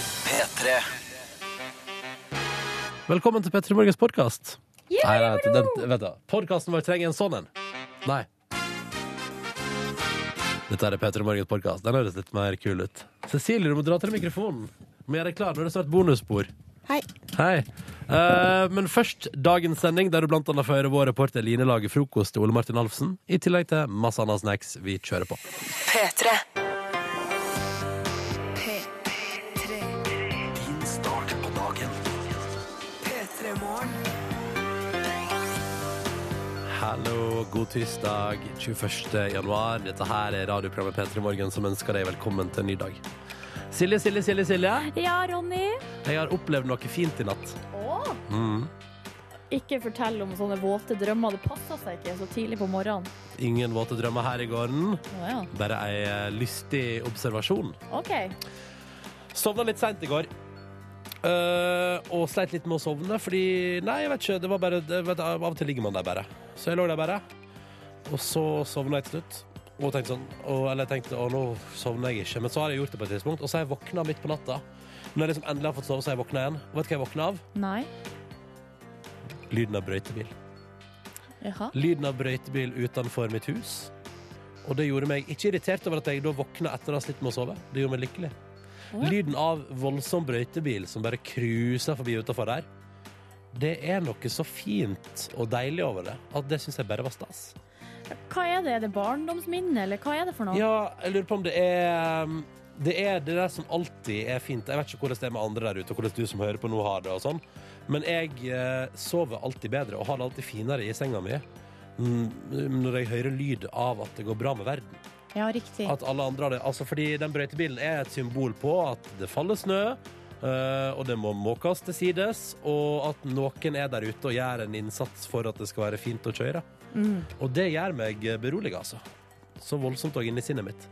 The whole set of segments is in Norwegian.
P3. Velkommen til Petter Morgens podkast. Nei, vet du, den, vet du, podkasten vår trenger en sånn en. Nei. Dette er Petter Morgens podkast. Den høres litt mer kul ut. Cecilie, du må dra til mikrofonen. Du Må gjøre deg klar når det står et bonusspor. Hei. Hei. Eh, men først dagens sending, der du blant annet får høre vår reporter Line lage frokost til Ole Martin Alfsen, i tillegg til masse annet snacks vi kjører på. P3. Din start på dagen. Hallo, god tirsdag 21. januar. Dette her er radioprogrammet P3 Morgen som ønsker deg velkommen til en ny dag. Silje, Silje, Silje, Silje. Ja, Ronny. Jeg har opplevd noe fint i natt. Mm. Ikke fortell om sånne våte drømmer. Det passer seg ikke så tidlig på morgenen. Ingen våte drømmer her i gården. Å ja. Bare ei eh, lystig observasjon. OK. Sovna litt seint i går. Eh, og sleit litt med å sovne, fordi Nei, jeg vet ikke. Det var bare, det, vet, du, av og til ligger man der bare. Så jeg lå der bare. Og så sovna jeg til slutt. Og tenkte sånn, og, eller jeg tenkte å, nå sovner jeg ikke. Men så har jeg gjort det på et tidspunkt, og så har jeg våkna midt på natta. Når jeg liksom endelig har fått sove, så har jeg våkna igjen. Og vet du hva jeg våkna av? Nei. Lyden av brøytebil. Jaha. Lyden av brøytebil utenfor mitt hus. Og det gjorde meg ikke irritert over at jeg da våkna etter å ha slitt med å sove. Det gjorde meg lykkelig. Å ja. Lyden av voldsom brøytebil som bare cruiser forbi utenfor der. Det er noe så fint og deilig over det at det syns jeg bare var stas. Hva er det? Er det barndomsminne, eller hva er det for noe? Ja, jeg lurer på om det er mm, Det er det der som alltid er fint. Jeg vet ikke hvordan det er med andre der ute, og hvordan du som hører på nå, har det. og sånn Men jeg eh, sover alltid bedre og har det alltid finere i senga mi mm, når jeg hører lyd av at det går bra med verden. Ja, riktig. At alle andre har det. Altså, fordi den brøytebilen er et symbol på at det faller snø, eh, og det må måkes til sides, og at noen er der ute og gjør en innsats for at det skal være fint å kjøre. Og det gjør meg beroliget, altså. Så voldsomt òg inni sinnet mitt.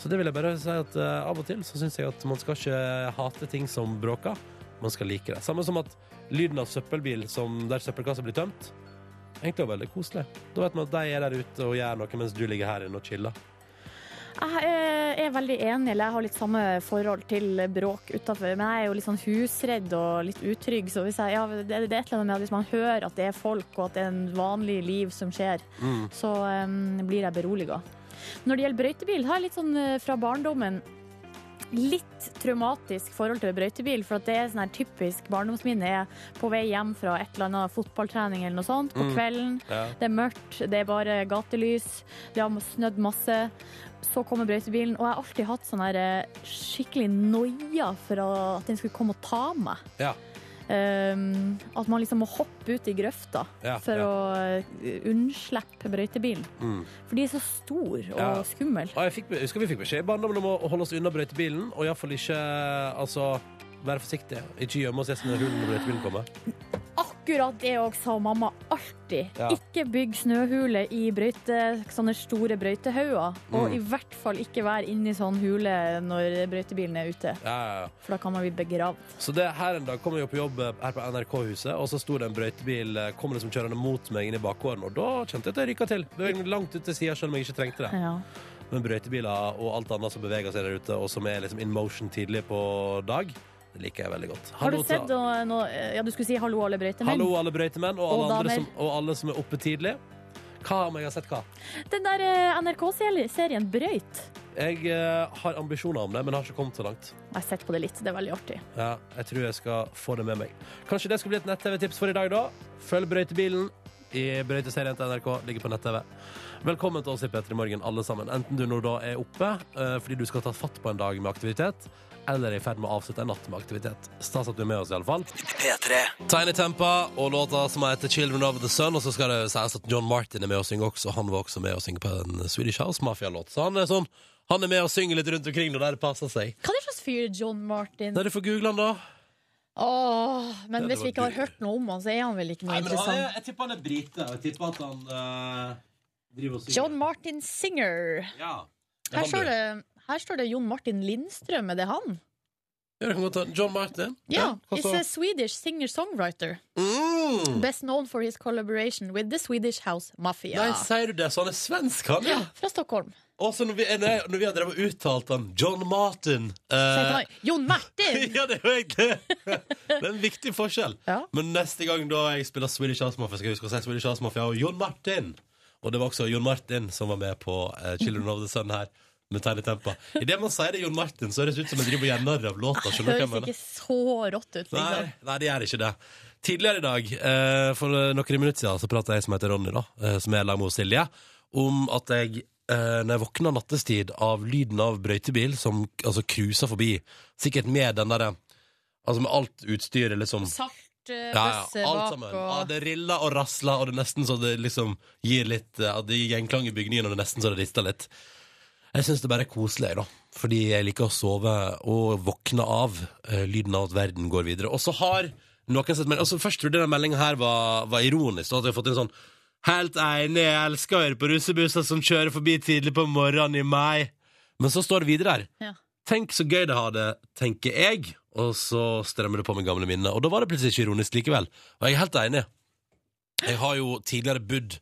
Så det vil jeg bare si at eh, av og til så syns jeg at man skal ikke hate ting som bråker. Man skal like det. Samme som at lyden av søppelbil som der søppelkassa blir tømt, egentlig er veldig koselig. Da vet man at de er der ute og gjør noe mens du ligger her inne og chiller. Jeg eh, er veldig enig, eller jeg har litt samme forhold til bråk utafor. Men jeg er jo litt sånn husredd og litt utrygg, så hvis jeg, ja, det, det er et eller annet med at hvis man hører at det er folk, og at det er en vanlig liv som skjer, Mm. så eh, blir jeg beroliga. Når det gjelder brøytebil, har jeg litt sånn eh, fra barndommen litt traumatisk forhold til brøytebil, for at det er sånn her typisk barndomsminne er på vei hjem fra et eller annet fotballtrening eller noe sånt på Mm. kvelden. Ja. Det er mørkt, det er bare gatelys, det har snødd masse. Så kommer brøytebilen, og jeg har alltid hatt sånn her eh, skikkelig noia for at den skulle komme og ta meg. Ja. Um, at man liksom må hoppe ut i grøfta Ja, for ja. å eh, unnslippe brøytebilen. Mm. For de er så stor og Ja. skummel. Og jeg fikk, jeg husker vi fikk beskjed i barndommen om å holde oss unna brøytebilen, og iallfall ikke altså, være forsiktige. Ikke gjemme oss i sånne hull når brøytebilen kommer. Akkurat det òg sa mamma alltid. Ja. Ikke bygg snøhule i brøyte, sånne store brøytehauger. Mm. Og i hvert fall ikke vær inni sånn hule når brøytebilen er ute, Ja, ja, ja. for da kan man bli begravd. Så det her en dag kom jeg jo på jobb eh, her på NRK-huset, og så sto det en brøytebil eh, kom liksom kjørende mot meg inn i bakgården, og da kjente jeg at jeg rykka til. Beveget meg langt ut til sida selv om jeg ikke trengte det. Ja. Men brøytebiler og alt annet som beveger seg der ute, og som er liksom in motion tidlig på dag, det liker jeg veldig godt. Har du Hallo til- sett noe, noe Ja, du skulle si 'hallo, alle brøytemenn'. Hallo, alle brøytemenn, og alle, Og andre damer. som, og alle som er oppe tidlig. Hva om jeg har sett hva? Den der eh, NRK-serien Brøyt. Jeg eh, har ambisjoner om det, men har ikke kommet så langt. Jeg har sett på det litt, det er veldig artig. Ja, jeg tror jeg skal få det med meg. Kanskje det skal bli et nett-TV-tips for i dag, da? Følg brøytebilen i brøyteserien til NRK. Ligger på nett-TV. Velkommen til oss i P3 Morgen, alle sammen. Enten du nå da er oppe eh, fordi du skal ta fatt på en dag med aktivitet, eller er i ferd med å avslutte en natt med aktivitet. Stas at du er med oss, iallfall. P3. Tiny Tempa og låta som heter 'Children of the Sun'. Og så skal det sies at John Martin er med å synge også. Han var også med å synge på en Swedish House Mafia-låt. Så han er sånn Han er med å synge litt rundt omkring når det passer seg. Hva er det slags fyr John Martin Nei, du får google han, da. Åh, Men Ja, det hvis vi ikke var har dyrt. hørt noe om han, så er han vel ikke noe interessant. jeg tipper han er brite. Jeg tipper at han eh, driver og synger. John Martin Singer. Ja. Her står det, her står det Jon Martin Lindstrøm, er det han? kan godt ta John Martin. Ja. hva He's så? a Swedish singer-songwriter. Mm. Best known for his collaboration with the Swedish House Mafia. Nei, sier du det? Så han er svensk, han? Ja, fra Stockholm. Og så når vi, nei, når vi har drevet og uttalt han John Martin eh, Nei, Jon Martin! Ja, det er jo egentlig Det er en viktig forskjell. Ja. Men neste gang da jeg spiller Swedish House Mafia, skal jeg huske å si Swedish House Mafia og Jon Martin. Og det var også Jon Martin som var med på eh, Children of the Sun her. Med Tiny Tempa. Idet man sier det Jon Martin, så høres det ut som jeg driver og gjør narr av låta. Det Skjønner du hva jeg høres mener? ikke så rått ut. Nei, Liksom. nei, det gjør ikke det. Tidligere i dag, eh, for noen minutter siden, så prata jeg som heter Ronny, da, eh, som er lag med Silje, om at jeg eh, når jeg våkna nattestid av lyden av brøytebil som altså cruiser forbi, sikkert med den derre Altså med alt utstyret, liksom. Sart eh, Ja, bøsse ja, alt bak sammen. og Ja, det riller og rasler, og det er nesten så det liksom gir litt eh, at Det gir gjenklang i bygningen, og det er nesten så det rister litt. Jeg syns det bare er koselig, da. Fordi jeg liker å sove og våkne av eh, lyden av at verden går videre. Og så har noen sett meg altså, Først trodde jeg den meldinga her var, var ironisk, og at jeg har fått en sånn Helt enig, jeg elsker å høre på russebusser som kjører forbi tidlig på morgenen i mai. Men så står det videre her. Ja. Tenk så gøy det har det, tenker jeg. Og så strømmer det på med gamle minner. Og da var det plutselig ikke ironisk likevel. Og jeg er helt enig. Jeg har jo tidligere bodd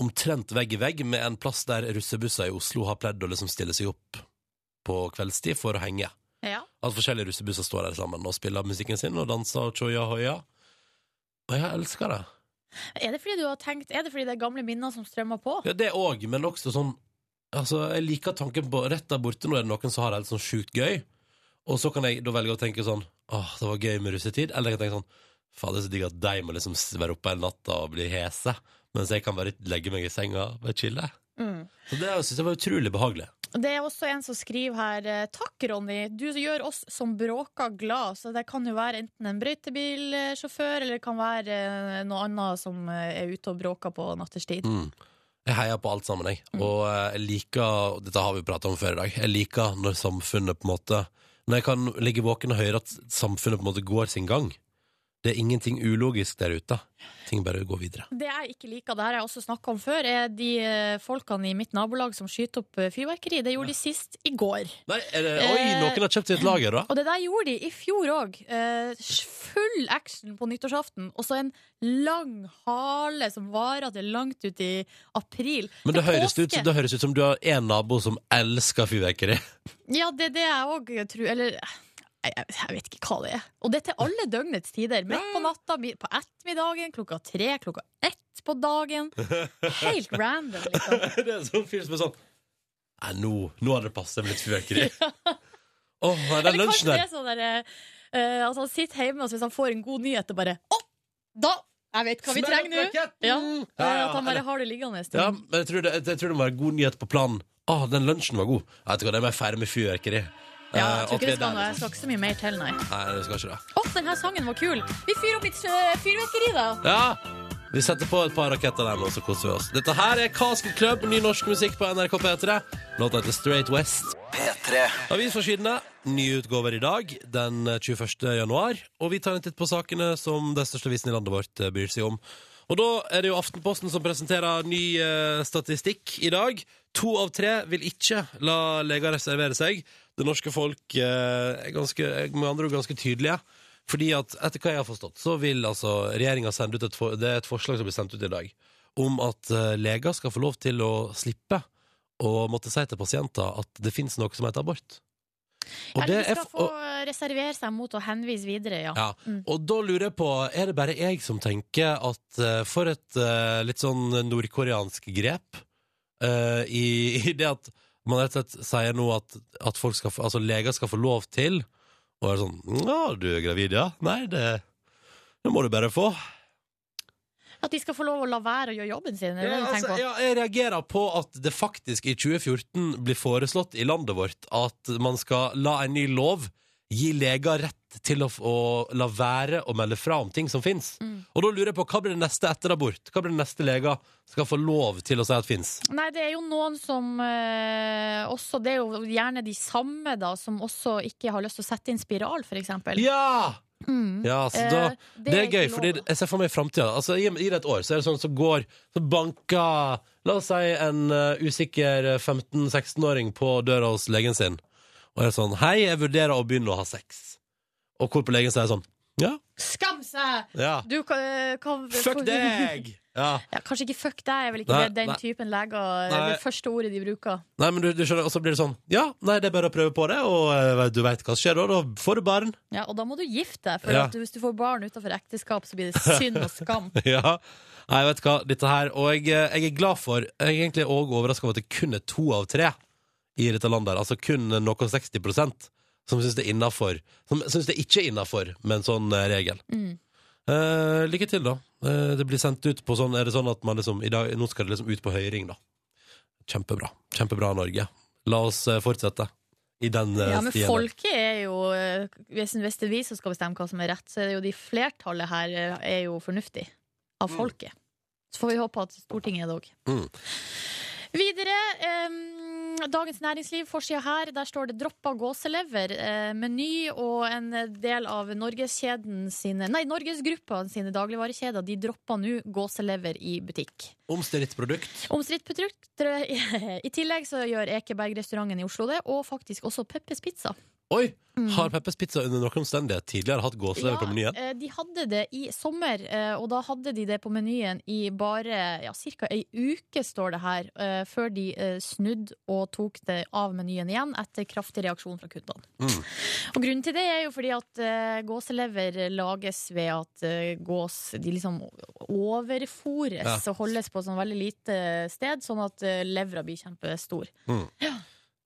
omtrent vegg i vegg med en plass der russebusser i Oslo har pledd å liksom stille seg opp på kveldstid for å henge. ja. At forskjellige russebusser står der sammen og spiller musikken sin og danser og tjoja hoia. Og jeg elsker det. Er det fordi du har tenkt Er det fordi det er gamle minner som strømmer på? Ja, det òg, men også sånn Altså, jeg liker tanken på Rett der borte nå er det noen som har det helt sånn sjukt gøy, og så kan jeg da velge å tenke sånn Åh, det var gøy med russetid. Eller jeg kan tenke sånn Fader, så digg at de må liksom s- være oppe hele natta og bli hese, mens jeg kan bare legge meg i senga og bare chille. Mm. Så det syns jeg var utrolig behagelig. Det er også en som skriver her eh, Takk, Ronny. Du gjør oss som bråker glad. Så det kan jo være enten en brøytebilsjåfør, eller det kan være eh, noe annet som eh, er ute og bråker på natterstid. Mm. Jeg heier på alt sammen, jeg. Mm. Og eh, jeg liker og Dette har vi prata om før i dag. Jeg liker når samfunnet på en måte Når jeg kan ligge våken og høre at samfunnet på en måte går sin gang. Det er ingenting ulogisk der ute. Ting bare går videre. Det jeg ikke liker, det her har jeg også snakka om før, er de eh, folkene i mitt nabolag som skyter opp eh, fyrverkeri. Det gjorde de sist i går. Nei, er det, Eh, oi, noen har kjøpt sitt lager, da. Og det der gjorde de i fjor òg. full action på nyttårsaften. Og så en lang hale som varer til langt ut i april. Men det Til høres, ut, påske. det høres ut som du har én nabo som elsker fyrverkeri. Ja, det er det jeg òg tror. Eller jeg, jeg- jeg vet ikke hva det er. Og det er til alle døgnets tider. Midt på natta, mi- på ettermiddagen, klokka tre, klokka ett på dagen. Helt random, liksom. det er en sånn fyr som er sånn Nei, nå, nå hadde det passet med litt fyrverkeri. Åh, nei, den Eller lunsjen kanskje det der. er sånn der eh, Altså, han sitter hjemme, og så hvis han får en god nyhet, det bare Å! Da! Jeg vet hva vi Smell trenger nå! opp raketten! Ja, Eh, Ja, ja, At han eller- bare har det liggende. til- Ja, men jeg tror det, jeg tror det må være god nyhet på planen. Ah, den lunsjen var god. Jeg vet ikke hva, det må jeg feire med fyrverkeri. Ja, Eh, jeg tror at ikke vi det er skal der, noe. Jeg liksom. skal ikke så mye mer til, nei. Nei, det skal ikke det. Å, denne sangen var kul! Vi fyrer opp litt eh, fyrverkeri, da. Ja, vi setter på et par raketter der nå, så koser vi oss. Dette her er Kask Club, ny norsk musikk på NRK P3. Låta heter Straight West. P3 Avisforsidene, nye utgaver i dag, den 21. januar. Og vi tar en titt på sakene som de største avisene i landet vårt eh, bryr seg om. Og da er det jo Aftenposten som presenterer ny eh, statistikk i dag. To av tre vil ikke la leger reservere seg. Det norske folk eh, er ganske, er med andre ord ganske tydelige. Fordi at etter hva jeg har forstått, så vil altså regjeringa sende ut et, for, det er et forslag som blir sendt ut i dag, om at eh, leger skal få lov til å slippe å måtte si til pasienter at det finnes noe som heter abort. Og Eller det de er skal f- få Mm. og- reservere seg mot å henvise videre, ja. ja, og da lurer jeg på, er det bare jeg som tenker at eh, for et eh, litt sånn nordkoreansk grep eh, i, i det at man rett og slett sier nå at, at folk skal, få- altså leger skal få lov til og er sånn, ja, du er gravid, ja. Nei, det, det må du bare få. At de skal få lov å la være å gjøre jobben sin. Er det Ja, det du altså, tenker på? ja, jeg reagerer på at det faktisk i 2014 blir foreslått i landet vårt at man skal la en ny lov gi leger rett til å, f- å la være å melde fra om ting som fins. Mm. Og da lurer jeg på hva blir det neste etter abort? Hva blir det neste leger skal få lov til å si at fins? Nei, det er jo noen som eh, også Det er jo gjerne de samme, da, som også ikke har lyst til å sette inn spiral, for eksempel. Ja! Mm. ja så da, Eh, det, er gøy, ikke fordi lov. jeg ser for meg i framtida. Altså, i, I et år så er det sånn som går Så banker La oss si en eh, usikker 15-16-åring på døra hos legen sin. Og er sånn Hei, jeg vurderer å begynne å ha sex. Og hvor på legen sier sånn Ja. Skam seg! ja. Du kan, eh, kan Fuck deg! Ja. Ja, kanskje ikke fuck deg, er vel ikke Nei, det den nei. typen leger eh, Det er Nei. det første ordet de bruker. Nei, men du, du skjønner, Og så blir det sånn Ja, nei, det er bare å prøve på det, og eh, du veit hva som skjer da. Da får du barn. Ja, Og da må du gifte deg, for Ja. at du, hvis du får barn utenfor ekteskap, så blir det synd og skam. Ja. Nei, vet du hva, dette her Og jeg, eh, jeg er glad for Jeg er egentlig òg overraska over at det kun er to av tre i dette landet. her. Altså kun noe 60 som syns det er innafor. Som syns det ikke er innafor med en sånn eh, regel. Mm. Eh, lykke til, da. Eh, det blir sendt ut på sånn Er det sånn at man liksom i dag, Nå skal det liksom ut på høring, da. Kjempebra. Kjempebra, Norge. La oss eh, fortsette i den eh, Ja, men stien. folket er jo eh, Hvis hvis det er vi som skal bestemme hva som er rett, så er det jo de flertallet her eh, er jo fornuftig. Av folket. Så får vi håpe at Stortinget er det òg. Mm. Videre. Eh, Dagens Næringsliv, forsida her, der står det 'droppa gåselever'. Eh, meny og en del av Norgeskjeden sine Nei, Norgesgruppa sine dagligvarekjeder de dropper nå gåselever i butikk. Omstridt produkt. Omstridt produkt. I tillegg så gjør Ekeberg-restauranten i Oslo det, og faktisk også Peppes Pizza. Oi! Mm. Har Peppers Pizza under noen omstendighet tidligere hatt gåselever på menyen? eh, De hadde det i sommer, eh, og da hadde de det på menyen i bare ja, ca. ei uke, står det her, eh, før de eh, snudde og tok det av menyen igjen etter kraftig reaksjon fra kundene. Mm. Og grunnen til det er jo fordi at eh, gåselever lages ved at eh, gås de liksom overfôres Ja. og holdes på sånn veldig lite sted, sånn at eh, levra blir kjempestor.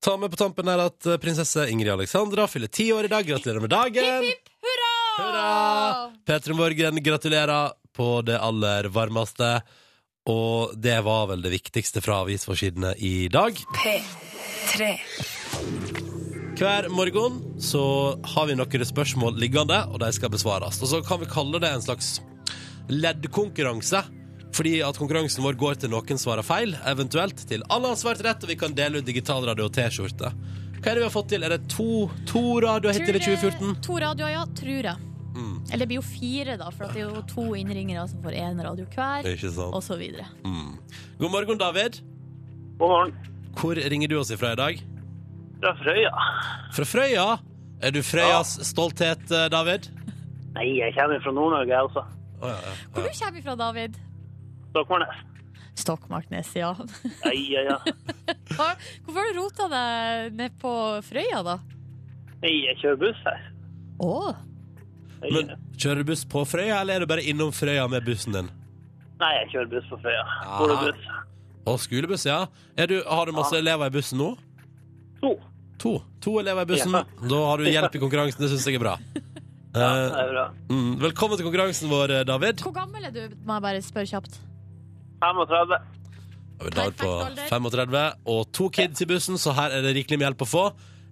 Ta med på tampen her at eh, prinsesse Ingrid Alexandra fyller ti år i dag. Gratulerer med dagen! Hipp, hipp, hurra! Petra Morgen, gratulerer på det aller varmeste. Og det var vel det viktigste fra avisforsidene i dag. P3. Hver morgen så har vi noen spørsmål liggende, og de skal besvares. Og så kan vi kalle det en slags leddkonkurranse. Fordi at konkurransen vår går til noen svarer feil, eventuelt til alle har svart rett, og vi kan dele ut digitalradio og T-skjorte. Hva er det vi har fått til? Er det to, to radioer Tror hittil i det- 2014? To radioer, ja. Tror jeg. Mm. Eller det blir jo fire, da, for at det er jo to innringere som får én radio hver, Ikke sant. og så videre. God morgen, David. God morgen. Hvor ringer du oss ifra i dag? Fra Frøya. Fra Frøya. Er du Frøyas stolthet, eh, David? Nei, jeg kommer fra Nord-Norge, altså. jeg også. Å, ja, ja. Hvor du kommer fra, David? Stokmarknes. Stokmarknes, ja. Nei, ja, ja. Hva- Hvorfor har du rota deg ned på Frøya, da? Nei, jeg kjører buss her. Å! Nei, Men kjører du buss på Frøya, eller er du bare innom Frøya med bussen din? Nei, jeg kjører buss på Frøya. Skolebuss. Og skolebuss, ja. Er du, har du masse elever i bussen nå? To. To. To elever i bussen. Ja. Da har du hjelp i konkurransen, det syns jeg er bra. Ja, Eh, det er bra. mm, velkommen til konkurransen vår, eh, David. Hvor gammel er du, må jeg bare spørre kjapt? 35. David på Perfekt alder. 35 og to kids i bussen, så her er det rikelig med hjelp å få.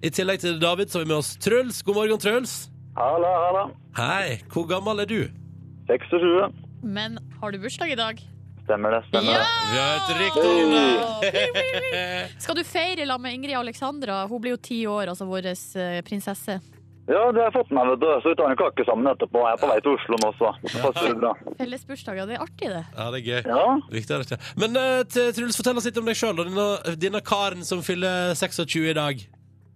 I tillegg til David så har vi med oss Truls. God morgen, Truls. Halla, halla. Hei, hvor gammel er du? 26. Men har du bursdag i dag? Stemmer det, Vi har et Åh! riktig Skal du feire sammen med Ingrid Alexandra? Hun blir jo ti år, altså vår eh, prinsesse. Ja, det har jeg fått med meg, vet du. Så vi tar en kake sammen etterpå. Jeg er på vei til Oslo nå, så det passer bra. Felles bursdager, det er artig, det. Ja, det er gøy. Ja, Riktig, riktig. Men eh, til- Truls, fortell oss litt om deg sjøl og denne, denne karen som fyller 26 i dag.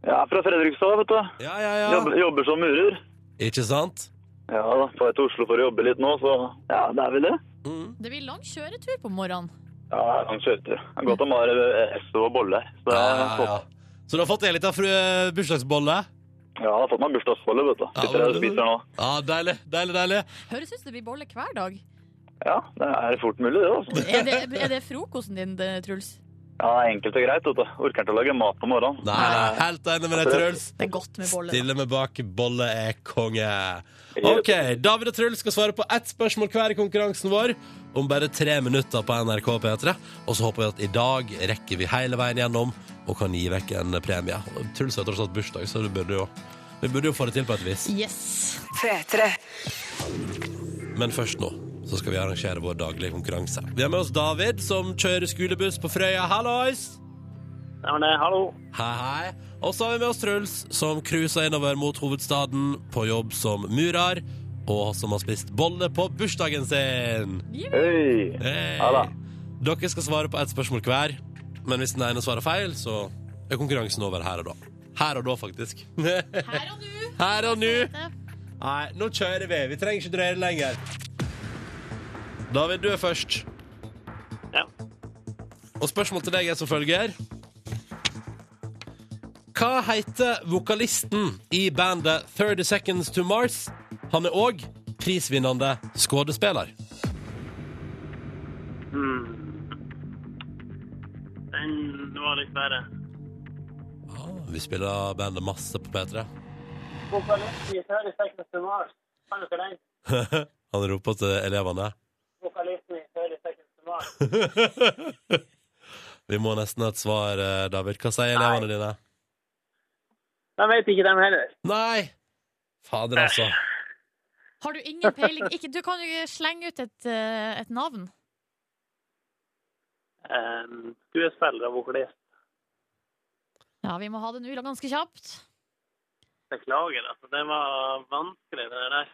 jeg er fra Fredrikstad, vet du. Ja, ja, ja. Jobber, jobber som murer. Ikke sant? Ja da, på vei til Oslo for å jobbe litt nå, så ja, det er vel det. Mm. Det blir lang kjøretur på morgenen. Ja, han kjørte. Jeg har gått og mare SV og bolle. Så jeg har Ja, ja, ja. fått- Så du har fått deg litt av fru eh, bursdagsbolle? ja, jeg har fått meg bursdagsbolle, vet du. Sitter her og spiser nå. Ja, deilig, deilig, deilig. Høres ut som det blir bolle hver dag. Ja, det er fort mulig, det, altså. Er det, er det frokosten din, det, Truls? Ja, enkelt og greit, vet du. Orker ikke å lage mat på morgenen. Nei, nei, helt enig med deg, Truls. Det er godt med bolle. da. Stille meg bak bolle er konge. OK, David og Truls skal svare på ett spørsmål hver i konkurransen vår om bare tre minutter på NRK P3. Og så håper vi at i dag rekker vi hele veien gjennom og kan gi vekk en premie. Truls har tross alt bursdag, så det burde jo, vi burde jo få det til på et vis. Yes. P3. Men først nå så skal vi arrangere vår daglige konkurranse. Vi har med oss David, som kjører skolebuss på Frøya. Hallois! Nei, men det, hallo. Hei, hei. Og så har vi med oss Truls, som cruiser innover mot hovedstaden på jobb som murer, og som har spist bolle på bursdagen sin. Hei! Hey. Ja da. Dere skal svare på ett spørsmål hver, men hvis den ene svarer feil, så er konkurransen over her og da. Her og da, faktisk. Her og nå. Her og nå. Nei, nå kjører vi. Vi trenger ikke drøye det lenger. David, du er først. Ja. Og spørsmålet til deg er som følger. Hva heter vokalisten i bandet 30 Seconds to Mars? Han er òg prisvinnende skuespiller. Hmm. Den var litt verre. Ah, vi spiller bandet masse på P3. Vokalisten i 30 Seconds to Mars. Kan dere den? Han roper til elevene. Vokalisten i 30 Seconds to Mars. Vi må nesten ha et svar, eh, David. Hva sier elevene dine? De vet ikke dem heller. Nei! Fader, altså. Har du ingen peiling? Ikke, du kan jo slenge ut et, eh, et navn. Um, skuespiller og vokalist. Ja, vi må ha det nå, ganske kjapt. Beklager, altså. Det var vanskelig, det der.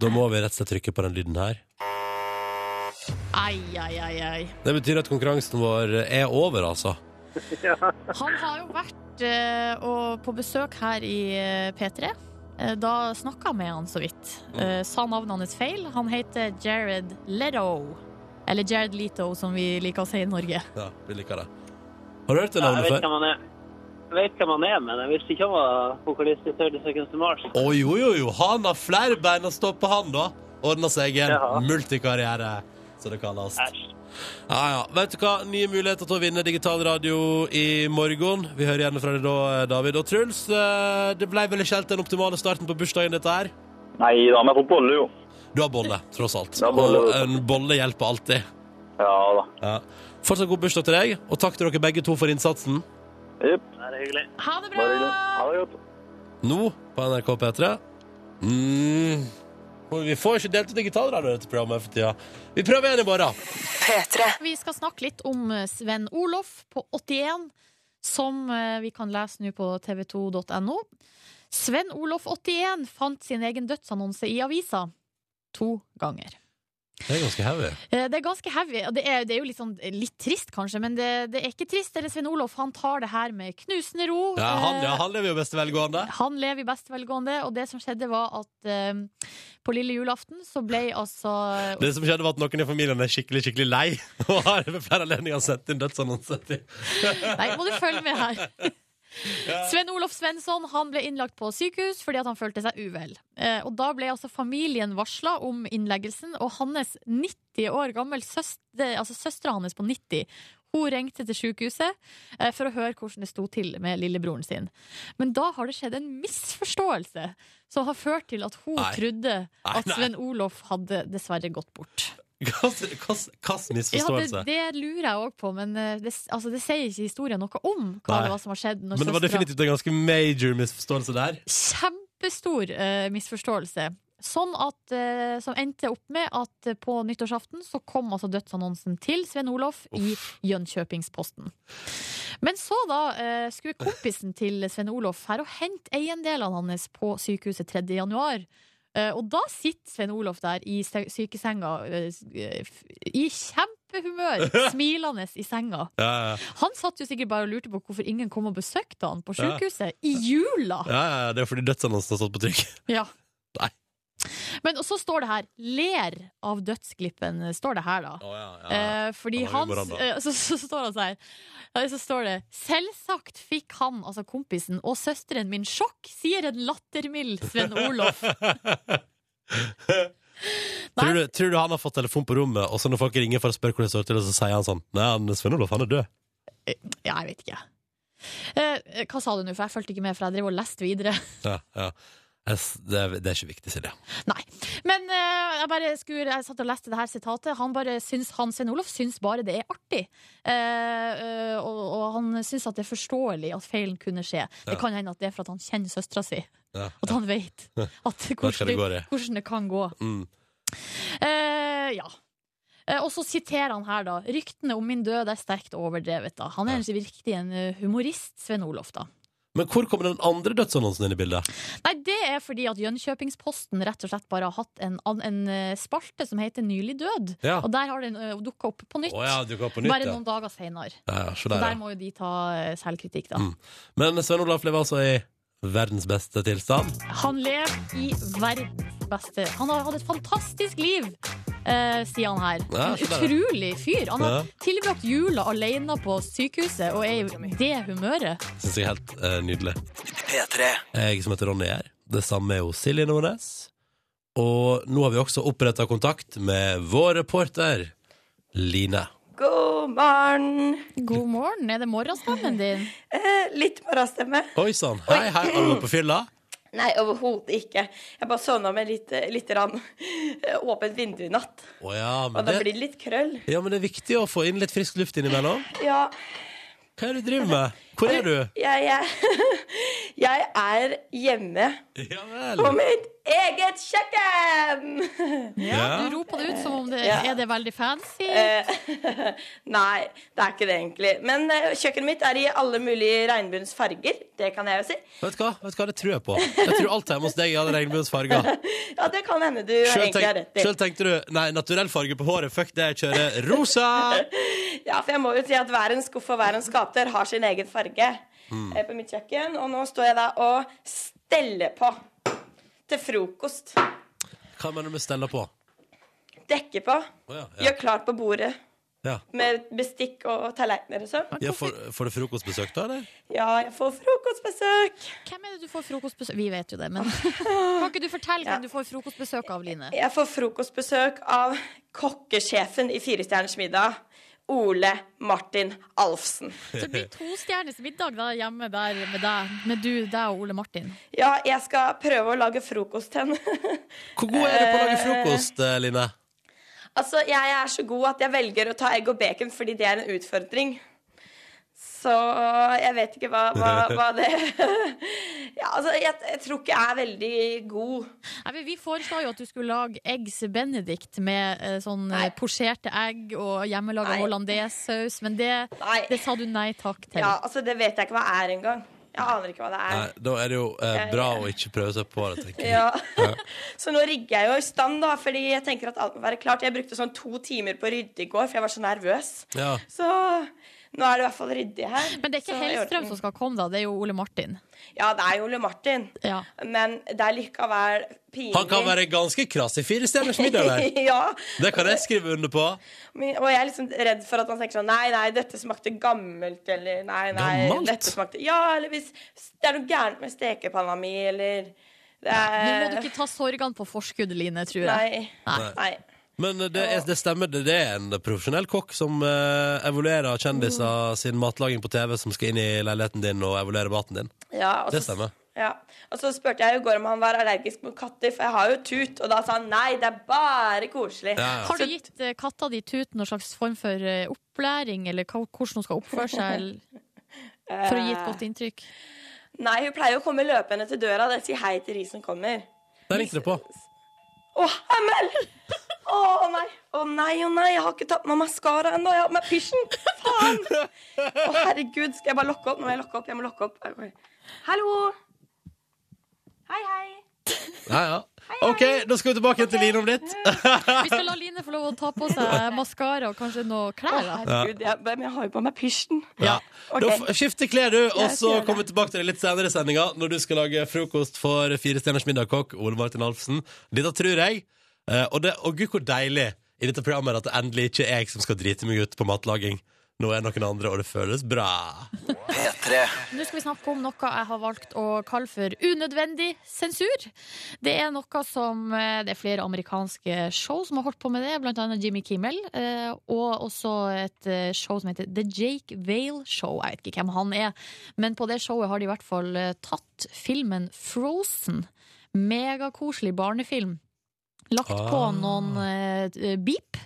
Da må vi rett og slett trykke på den lyden her. Ai, ai, ai, ai. Det betyr at konkurransen vår er over, altså. Han har jo vært eh, og på besøk her i eh, P3. Eh, Da snakka jeg med han så vidt. Eh, Sa navnet hans feil. Han heter Jared Leto. Eller Jared Leto, som vi liker å si i Norge. Ja, vi liker det. Har du hørt det Ja, jeg navnet vet før? hvem han er. Jeg vet hvem han er, men jeg visste ikke han var vokalist i 30 Seconds to Mars. Å jo, jo, jo. Han har flere bein å stå på, han, da. Ordna seg en Ja. multikarriere, som det kalles. Æsj. Ja, ja. Vet du hva? Nye muligheter til å vinne digital radio i morgen. Vi hører gjerne fra deg da, David. Og Truls, eh, det ble vel ikke helt den optimale starten på bursdagen, dette her? Nei da, men jeg får bolle, jo. Du har bolle, tross alt. har bolle, Og vet en bolle hjelper alltid. Ja da. Ja. Fortsatt god bursdag til deg, og takk til dere begge to for innsatsen. Jepp. Det er hyggelig. Ha det Bare hyggelig. bra! Ha det godt. Nå på NRK P3. Mm. Og Vi får ikke delt ut digitalradio i dette programmet for tida. Vi prøver igjen i morgen. Vi skal snakke litt om eh, Sven Olof på 81, som eh, vi kan lese nå på tv2.no. Sven Olof 81 fant sin egen dødsannonse i avisa to ganger. Det er ganske heavy. Eh, Det er ganske heavy. og Det er, det er jo litt, sånn, litt trist, kanskje, men det, det er ikke trist. Eller Svein Olof han tar det her med knusende ro. Ja, han, ja, Eh, han lever jo beste velgående. han lever i beste velgående, og det som skjedde, var at eh, på lille julaften så ble altså Det som skjedde var at Noen i familien er skikkelig skikkelig lei og har ved flere anledninger sendt inn dødsannonser. til Nei, må du følge med her. Sven Olof Svensson han ble innlagt på sykehus fordi at han følte seg uvel. Eh, og Da ble altså familien varsla om innleggelsen, og hans 90 år gammel søster, altså søstera hans på 90 hun ringte til sykehuset eh, for å høre hvordan det sto til med lillebroren sin. Men da har det skjedd en misforståelse som har ført til at hun Nei. trodde Nei, at nei. Sven Olof hadde dessverre gått bort. Hvilken Ja, det, misforståelse? det lurer jeg òg på, men eh, det, altså, det sier ikke historien noe om hva Nei. det var som har skjedd. Når Men det var søstera- definitivt en ganske major misforståelse der. Kjempestor eh, misforståelse. Sånn at, eh, Som endte opp med at eh, på nyttårsaften så kom altså dødsannonsen til Svein Olof i Jönköpingsposten. Men så da eh, skulle kompisen til Svein Olof her og hente eiendelene hans på sykehuset 3. januar. Eh, og da sitter Svein Olof der i se- sykesenga eh, s- eh, f- i kjempehumør, smilende i senga. Ja, ja, Han satt jo sikkert bare og lurte på hvorfor ingen kom og besøkte han på Ja. sykehuset i jula! ja, ja, Det er fordi dødsannonsen har stått på trykk. Ja. Nei. Men og så står det her 'ler av dødsglippen'. står det her da Oh, ja, Eh, fordi Ja, han det er humoren, da. eh, så, så står han sånn her. Så står det 'Selvsagt fikk han, altså kompisen, og søsteren min sjokk', sier en lattermild Sven Olof. Tror du, tror du han har fått telefon på rommet, og så når folk ringer for å spørre hvordan det står til, så sier han sånn Nei, han Svein Olof, han er død. Ja, jeg vet ikke. Eh, hva sa du nå, for jeg fulgte ikke med, for jeg drev og leste videre. Ja, ja. Jeg s- Det, er- det er ikke viktig, Silje. Nei. Men eh, jeg bare skulle, jeg satt og leste det her sitatet. Han bare syns, han Svein Olof syns bare det er artig. Eh, eh, og, og han syns at det er forståelig at feilen kunne skje. Det Ja. kan hende at det er for at han kjenner søstera si. Ja. At han vet at skal det hvordan, det, gå, det. hvordan det kan gå. Mm. Eh, ja. Eh, Og så siterer han her, da. Ryktene om min død er sterkt overdrevet, da. Han er virkelig en eh, humorist, Svein Olof, da. Men hvor kommer den andre dødsannonsen inn i bildet? Nei, det er fordi at Jönköpingsposten rett og slett bare har hatt en, an- en eh, spalte som heter Nylig død. Ja. Og der har den dukka opp på nytt. Å ja, du går på nytt, bare ja. noen dager seinere. ja, ja så Så der, der ja. må jo de ta eh, selvkritikk, da. Mm. Men Svein Olaf lever altså i verdens beste tilstand. Han lever i verdens beste Han har hatt et fantastisk liv, eh, sier han her. Ja, En så der, ja. utrolig fyr. Han har Ja. tilbrakt jula alene på sykehuset og er i det humøret. Syns jeg er helt eh, nydelig. P3. Jeg som heter Ronny her. Det samme er jo Silje Nordnes. Og nå har vi også oppretta kontakt med vår reporter Line. God morgen. God morgen. Er det morgenstemmen din? Eh, litt morgenstemme. Oi sann! Hei, hei, har du vært på fylla? Nei, overhodet ikke. Jeg bare sovna med litt, litt rann, eh, åpent vindu i natt. Å ja, Og men da det, blir det litt krøll. ja, men det er viktig å få inn litt frisk luft innimellom. Ja, Hva er det du driver med? Hvor er du? jeg, jeg, jeg er hjemme Ja på vel. mitt eget kjøkken! Ja. Du roper det ut som om det Ja. er det veldig fancy. Eh, Nei, det er ikke det, egentlig. Men eh, kjøkkenet mitt er i alle mulige regnbuens farger. Det kan jeg jo si. Vet du hva? Vet du hva? Det tror jeg på. Jeg tror alt hjemme hos deg hadde regnbuens farger. Ja, det kan hende du Sjøl egentlig har rett i. tenkte du nei, naturell farge på håret, fuck det, jeg kjører rosa! Ja, for jeg må jo si at hver en skuff og hver en skapdør har sin egen farge Mm. eh, på mitt kjøkken. Og nå står jeg da og steller på til frokost. Hva mener du med stella på? Dekker på. Å ja, ja. Gjør klart på bordet Ja. med bestikk og tallerkener og sånn. Ja, får, får du frokostbesøk da, eller? Ja, jeg får frokostbesøk. Hvem er det du får frokostbesøk Vi vet jo det, men kan ikke du fortelle Ja. hvem du får frokostbesøk av, Line? Jeg får frokostbesøk av kokkesjefen i Firestjerners middag. Ole Martin Alfsen. Så det blir tostjerners middag da, hjemme der med deg, med du, deg og Ole Martin. Ja, jeg skal prøve å lage frokost til henne. Hvor god er du på å lage frokost, eh, Line? Altså, jeg er så god at jeg velger å ta egg og bacon fordi det er en utfordring. Så jeg vet ikke hva, hva, hva det Ja, altså, jeg, jeg tror ikke jeg er veldig god. Nei, men vi foreslo jo at du skulle lage eggs benedict med eh, sånn eh, Nei. posjerte egg og hjemmelaga Nei. hollandesaus, men det, Nei. det sa du nei takk til. Ja, altså, det vet jeg ikke hva er engang. Jeg aner ikke hva det Nei, er. da er det jo eh, bra å ikke prøve seg på det, tenker jeg. Ja. Så nå rigger jeg jo i stand, da, fordi jeg tenker at alt må være klart. Jeg brukte sånn to timer på å rydde i går, for jeg var så nervøs. Ja. Så nå er det i hvert fall ryddig her. Men det er ikke Så i Hellstrøm orden. som skal komme, da. Det er jo Ole Martin. Ja, det er jo Ole Martin. Ja. Men det er likevel pinlig. Han kan være ganske krass i fire stjerners middag der. ja. Det kan jeg skrive under på. Men- Og jeg er liksom redd for at han tenker sånn Nei, nei, dette smakte gammelt, eller Nei, nei, Gammelt? dette smakte Ja, eller hvis det er noe gærent med stekepanna mi, eller det Nå må du er ikke ta sorgene på forskudd, Line, tror jeg. Eh. Nei. Nei. Nei. Men eh, det, er, det stemmer, det det er en profesjonell kokk som eh, evaluerer kjendiser sin matlaging på TV, som skal inn i leiligheten din og evaluere maten din. Ja, og Det så- stemmer. Ja. Og så spurte jeg i går om han var allergisk mot katter, for jeg har jo tut. Og da sa han nei, det er bare koselig. Ja, ja. Har du gitt eh, katta di Tut noen slags form for eh, opplæring, eller hva- hvordan hun skal oppføre seg? eller- For å gi et godt inntrykk. Nei, hun pleier å komme løpende til døra og si hei til de som kommer. Der ringte det på. Å, Emmel! Å nei, å nei, å nei, jeg har ikke tatt meg maskara ennå. Jeg har på meg pysjen. Faen! Å herregud, skal jeg bare lokke opp? Nå må jeg lokke opp. Jeg må lokke opp. Jeg må- Hallo! Hei, hei. Ja, ja. OK, da skal vi tilbake til Line om litt. Vi skal la Line få lov å ta på seg maskara og kanskje noe Å klær. da. herregud, jeg, men jeg har jo på meg pysjen. Ja. Ok. Da f- skifter klær du, og Jeg skal så gjøre det. kommer vi tilbake til det litt senere i sendinga, når du skal lage frokost for Fire stjerners middagkokk, Ole Martin Alfsen. Dette tror jeg. Eh, Og, det, og gud, hvor deilig i dette programmet er at det endelig ikke er jeg som skal drite meg ut på matlaging. Nå er det noen andre, og det føles bra. P3. Nå skal vi snakke om noe jeg har valgt å kalle for unødvendig sensur. Det er noe som eh, Det er flere amerikanske show som har holdt på med det, blant annet Jimmy Kimmel. eh, Og også et eh, show som heter The Jake Vale Show. Jeg vet ikke hvem han er, men på det showet har de i hvert fall eh, tatt filmen Frozen. Megakoselig barnefilm. Lagt på Ah. noen eh, beep.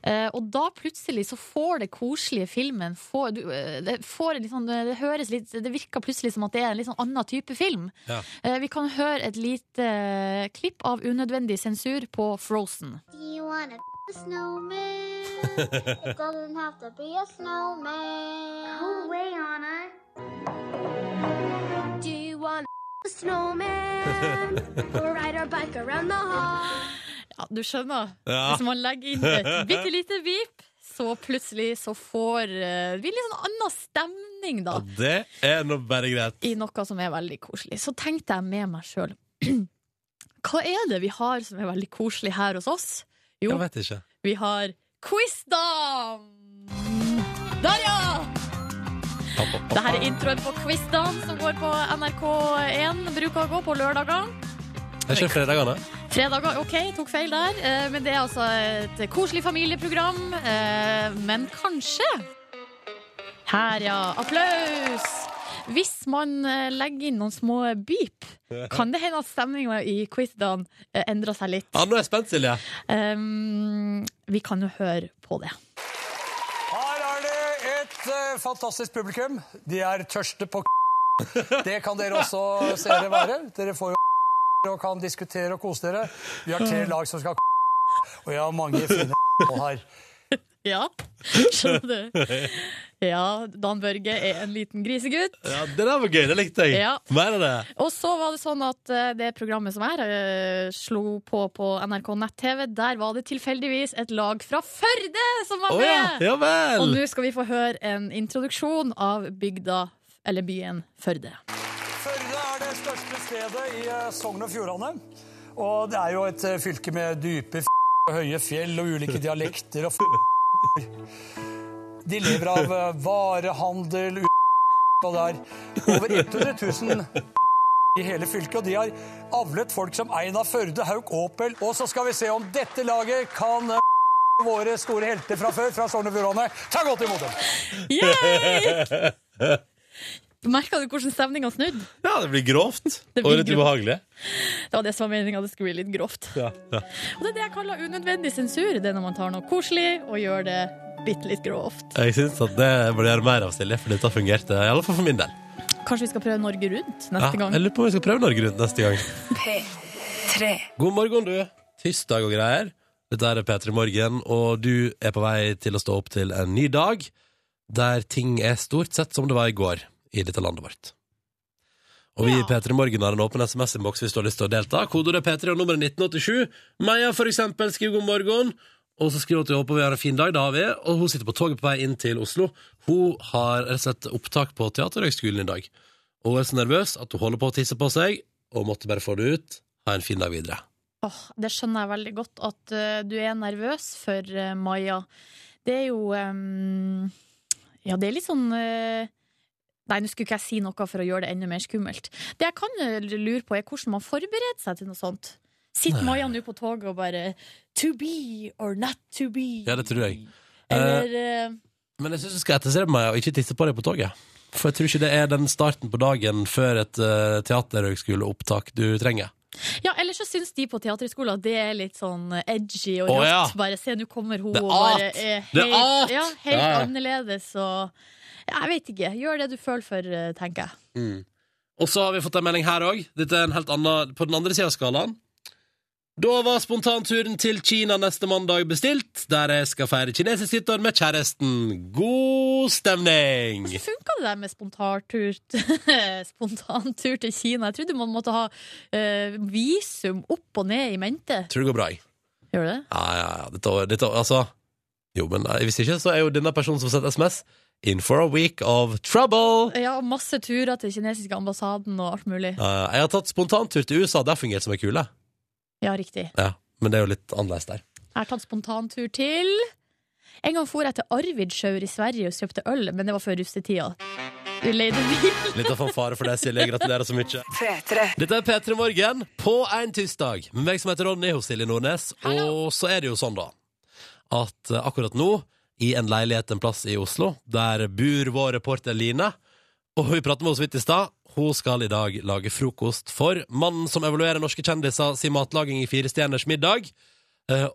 Eh, og da plutselig så får det koselige filmen får, du, eh, det, får en litt sånn, eh, det høres litt Det virker plutselig som at det er en litt sånn annen type film. Ja. Eh, vi kan høre et lite eh, klipp av unødvendig sensur på Frozen. Do you want a snowman? it doesn't have to be a snowman. Go away, Anna. Do you want a snowman? we'll ride our bike around the hall. Ja, du skjønner? Ja. Hvis man legger inn et bitte lite beep, så plutselig så får eh, vi litt sånn annen stemning, da. Ja, det er nå bare greit. i noe som er veldig koselig. Så tenkte jeg med meg sjøl. Hva er det vi har som er veldig koselig her hos oss? Jo, Jeg vet ikke. vi har quizdam! Der, ja! Det her er introen på quizdam som går på NRK1. Bruker å gå på lørdager. Det er ikke fredagene. Fredager, OK, tok feil der. Eh, Men det er altså et koselig familieprogram. Eh, Men kanskje Her, ja. Applaus! Hvis man eh, legger inn noen små beep, kan det hende at stemninga i quizdam endrer seg litt. Ja, nå er jeg spent, Silje. Um, vi kan jo høre på det. Her er det et eh, fantastisk publikum. De er tørste på Det kan dere også se dere være. Dere får jo og kan diskutere og kose dere. Vi har tre lag som skal og jeg har mange fine her. Ja, skjønner du. Ja, Dan Børge er en liten grisegutt. Ja, Det der var gøy. Det likte jeg. Ja. Mer av det. Og så var det sånn at eh, det programmet som er, eh, slo på på NRK nett-TV. Der var det tilfeldigvis et lag fra Førde som Å var med! ja. Ja vel. Og nå skal vi få høre en introduksjon av bygda, eller byen, Førde. Førde er det største stedet i eh, Sogn og Fjordane. Og det er jo et eh, fylke med dype og høye fjell og ulike dialekter og De lever av eh, varehandel og det er over 100 000 i hele fylket, og de har avlet folk som Einar Førde, Hauk Opel. Og så skal vi se om dette laget kan eh, våre store helter fra før, fra Sogn og Fjordane. Ta godt imot dem! Yay! Merka du hvordan stemninga snudde? Ja, det blir grovt. Det og blir litt grovt. ubehagelig. Det var det som var meninga, det skulle bli litt grovt. Ja, ja. Og det er det jeg kaller unødvendig sensur. Det er når man tar noe koselig og gjør det bitte litt grovt. Jeg syns at det burde gjøre mer av, Silje, for dette fungerte. I alle fall for min del. Kanskje vi skal prøve Norge Rundt Ja, neste gang? jeg lurer på om vi skal prøve Norge Rundt neste gang. God morgen, du. Tirsdag og greier. Dette er P3 Morgen, og du er på vei til å stå opp til en ny dag der ting er stort sett som det var i går i dette landet vårt. Og vi i P3 Morgen har en åpen SMS-innboks hvis du har lyst til å delta. Kodeordet P3 og nummeret 1987. Meia, for eksempel, skriver god morgen. Og så skriver hun at hun håper vi har en fin dag. Det har vi. Og hun sitter på toget på vei inn til Oslo. Hun har rett og slett opptak på Teaterhøgskolen i dag. Og hun er så nervøs at hun holder på å tisse på seg, og måtte bare få det ut. Ha en fin dag videre. Åh, det skjønner jeg veldig godt, at eh, du er nervøs for eh, Maja. Det er jo ehm, Ja, det er litt sånn eh, Nei, nå skulle ikke jeg si noe for å gjøre det enda mer skummelt. Det jeg kan eh, lure på, er hvordan man forbereder seg til noe sånt. Sitter Maja nå på toget og bare To be or not to be? Ja, det tror jeg. Eller eh, Men jeg syns du skal etterstrebe meg og ikke tisse på deg på toget. For jeg tror ikke det er den starten på dagen før et uh, teaterhøgskoleopptak du trenger. Ja, eller så syns de på teaterskolen at det er litt sånn edgy og Å, rått. ja. Bare se, nå kommer hun Det er og bare art. er helt, Det er art. Ja, helt Ja, ja. annerledes og ja, Jeg vet ikke. Gjør det du føler for, eh, tenker jeg. Og så har vi fått en melding her òg. Dette er en helt annen På den andre sida av skalaen. Da var spontanturen til Kina neste mandag bestilt, der jeg skal feire kinesisk nyttår med kjæresten. God stemning! Funka det der med spontantur, spontantur til Kina? Jeg trodde man måtte ha eh, visum opp og ned i mente. Tror det går bra, jeg. Gjør det det? Ja, ja, ja. Dette, dette, altså Jo, men nei, hvis ikke, så er jo denne personen som sendte SMS, in for a week of trouble. Ja, og masse turer til kinesiske ambassaden og alt mulig. Ja, ja. jeg har tatt spontantur til USA. Det har fungert som ei kule. Ja, riktig. Ja, men det er jo litt annerledes der. Jeg har tatt spontantur til En gang for jeg til Arvidsjaur i Sverige og kjøpte øl, men det var før russetida. Vi leide bil. Litt av fanfare for deg, Silje. Gratulerer så mye. Dette er P3 Morgen på en tirsdag med meg som heter Ronny hos Silje Nordnes. Og så er det jo sånn, da, at eh, akkurat nå, i en leilighet en plass i Oslo, der bor vår reporter Line, og hun prater med oss vidt i stad, hun skal i dag lage frokost for mannen som evaluerer norske kjendiser sin matlaging i Fire stjerners middag. eh,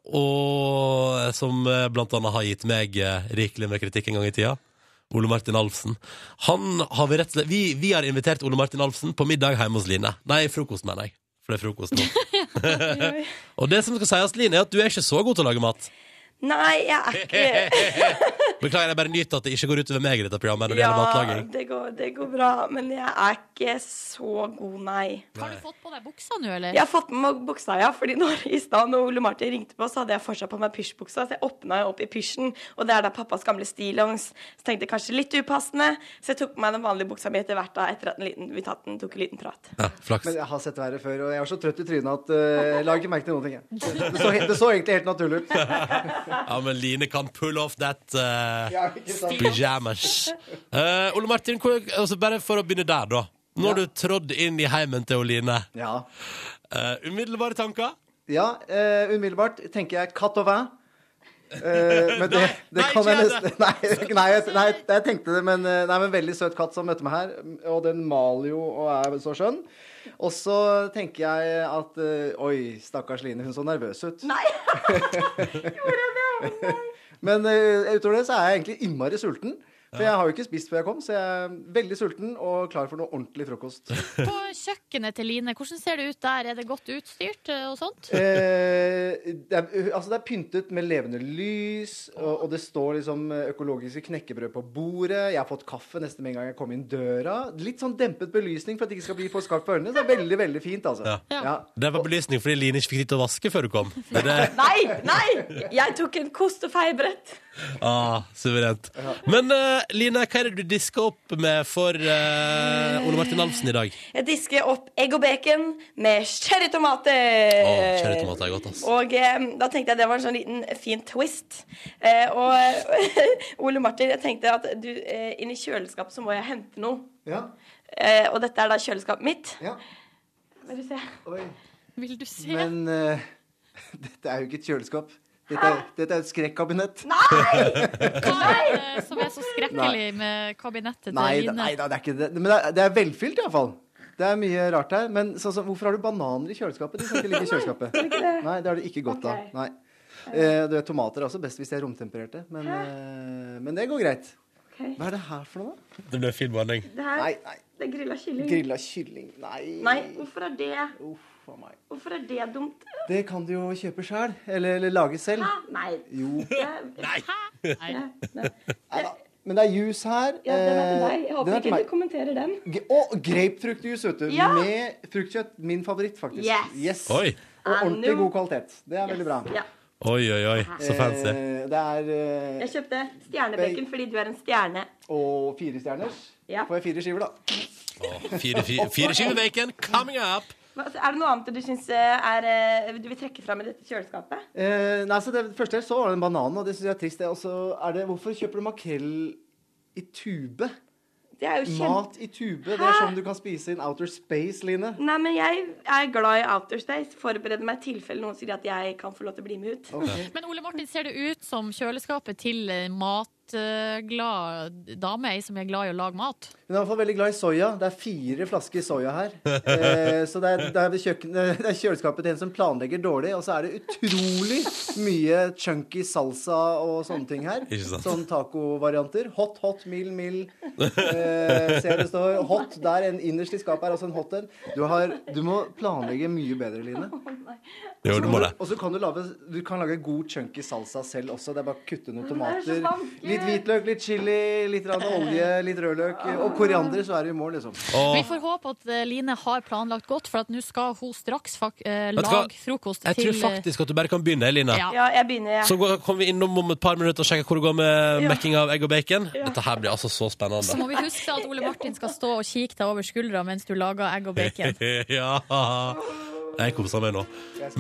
Og som eh, blant annet har gitt meg eh, rikelig med kritikk en gang i tida. Ole Martin Alfsen. Han har vi, rett, og slett- vi, vi har invitert Ole Martin Alfsen på middag hjemme hos Line. Nei, frokost, mener jeg. For det er frokost nå. og det som skal sies, Line, er at du er ikke så god til å lage mat. Nei, jeg er ikke Beklager, jeg bare nyter at det ikke går utover meg i dette programmet når det gjelder Ja, matlaging. det går, det går bra, men jeg er ikke så god, nei. Har du fått på deg buksa nå, eller? Jeg har fått med meg buksa, ja, fordi når, i stad når Ole Martin ringte på, så hadde jeg fortsatt på meg pysjbuksa, så jeg åpna jo opp i pysjen, og det er da pappas gamle stillongs. Så tenkte jeg kanskje litt upassende, så jeg tok på meg den vanlige buksa mi etter hvert, da, etter at en liten, vi tatt den, tok en liten prat. Ja, flaks. Men jeg har sett verre før, og jeg var så trøtt i trynet at eh, jeg la ikke merke til noen ting. jeg. Det så, he- det så egentlig helt naturlig ut. Ja, men Line kan pull off that eh, Ja, ikke sant? pyjamas. Eh, Ole Martin, hvor, altså bare for å begynne der, da. Nå har du trådd inn i heimen til Oline. Ja. Eh, umiddelbare tanker? ja eh, umiddelbart tenker jeg katt og væ. Eh, men det, Nei, det nei, kan jeg ikke nesten nei, nei, jeg- nei, jeg tenkte det, men eh, Nei, men veldig søt katt som møtte meg her. Og den maler jo og er så skjønn. Og så tenker jeg at eh, Oi, stakkars Line, hun så nervøs ut. Nei! Men eh, utover det så er jeg egentlig innmari sulten. For jeg har jo ikke spist før jeg kom, så jeg er veldig sulten og klar for noe ordentlig frokost. På kjøkkenet til Line, hvordan ser det ut der? Er det godt utstyrt eh, og sånt? Eh, det, er, altså det er pyntet med levende lys, og, og det står liksom økologiske knekkebrød på bordet. Jeg har fått kaffe nesten med en gang jeg kom inn døra. Litt sånn dempet belysning for at det ikke skal bli for skarpt på ørene. Så det er veldig, veldig fint, altså. Ja. Ja. Det var belysning fordi Line ikke fikk tid til å vaske før du kom. Det er det, Nei! Nei! Jeg tok en kost og feibrett. ah, suverent. Men eh, Line, hva er det du disker opp med for eh, Ole Martin Alfsen i dag? Jeg disker opp egg og bacon med cherrytomater. Å, cherrytomater er godt, ass. Og eh, da tenkte jeg det var en sånn liten fin twist. Eh, og Ole Martin, jeg tenkte at du, eh, inn i kjøleskapet så må jeg hente noe. Ja. Eh, og dette er da kjøleskapet mitt. ja. Vil du se? Oi. Vil du se? Men eh, dette er jo ikke et kjøleskap. Dette er, dette er et skrekkabinett. Hva er det som er så skrekkelig med kabinettet til Nei, da- Line? nei da, det er ikke det. Men det er, det er velfylt, iallfall. Det er mye rart her. Men sånn som, hvorfor har du bananer i kjøleskapet? De skal ikke ligge i kjøleskapet. Nei, det har du ikke godt av. Ok. Nei. Eh, du vet, tomater er også best hvis de er romtempererte, men, eh, men det går greit. Ok. Hva er det her for noe, da? Det ble fin behandling. Det her, Nei, nei. det er grilla kylling. Grilla kylling. Nei. Nei, hvorfor er det, Uff a meg. hvorfor er det dumt? Det kan du jo kjøpe sjæl. Eller, eller lage selv. Hæ? Nei. Jo. Det- Nei. Nei. Nei da. Men det er juice her. Ja, den er Eh, til deg. Jeg håper ikke du meg. kommenterer den. G- Å, grapefruktjuice, vet du. Ja. Med fruktkjøtt. Min favoritt, faktisk. Yes. Oi, Og ordentlig Anu. god kvalitet. Det er veldig bra. Ja. oi, oi, oi. så fancy. Eh, det er Jeg kjøpte stjernebacon fordi du er en stjerne. eh, Og fire stjerners. Ja. Får jeg fire skiver, da? Fire, fire, fire skiver bacon coming up! Hva- altså, Er det noe annet du syns er eh, Du vil trekke fram i dette kjøleskapet? Eh, nei, så Det første jeg så, var den bananen, og det syns jeg er trist. Det. Og så er det, hvorfor kjøper du makrell i tube? Det er jo kjempe... Mat i tube? Det er sånn du kan spise in outer space, Line. Nei, men jeg er glad i Outerspace. Forbereder meg i tilfelle noen sier at jeg kan få lov til å bli med ut. Men Ole Martin, ser det ut som kjøleskapet til ei matglad dame, ei som er glad i å lage mat? Hun er i hvert fall veldig glad i soya. Det er fire flasker soya her. Eh, så det er, det, er kjøkken, det er kjøleskapet til en som planlegger dårlig. Og så er det utrolig mye chunky salsa og sånne ting her. Ikke sant. Sånn tacovarianter. Hot, hot, mild, mild. Eh, ser det står hot der en innerst i skapet er også en hot en. Du, har, du må planlegge mye bedre, Line. Jo, du må det. Og så kan du lage, du kan lage god chunky salsa selv også. Det er bare å kutte noen Det er så tomater. vanskelig. Litt hvitløk, litt chili, litt grann olje, litt rødløk. Og koriander, så er du i mål, liksom. Åh. Vi får håpe at eh, Line har planlagt godt, for at nå skal hun straks fak eh, Vet du hva? lage frokost Jeg til eh, tror faktisk at du bare kan begynne, Line. Ja. Ja, jeg begynner, jeg. Så går, kommer vi innom om et par minutter og sjekker hvor det går med Ja. mekking av egg og bacon. Dette her blir altså så Så spennende. må vi huske at Ole Martin skal stå og kikke deg over skuldra mens du lager egg og bacon. ja. Jeg koser meg nå.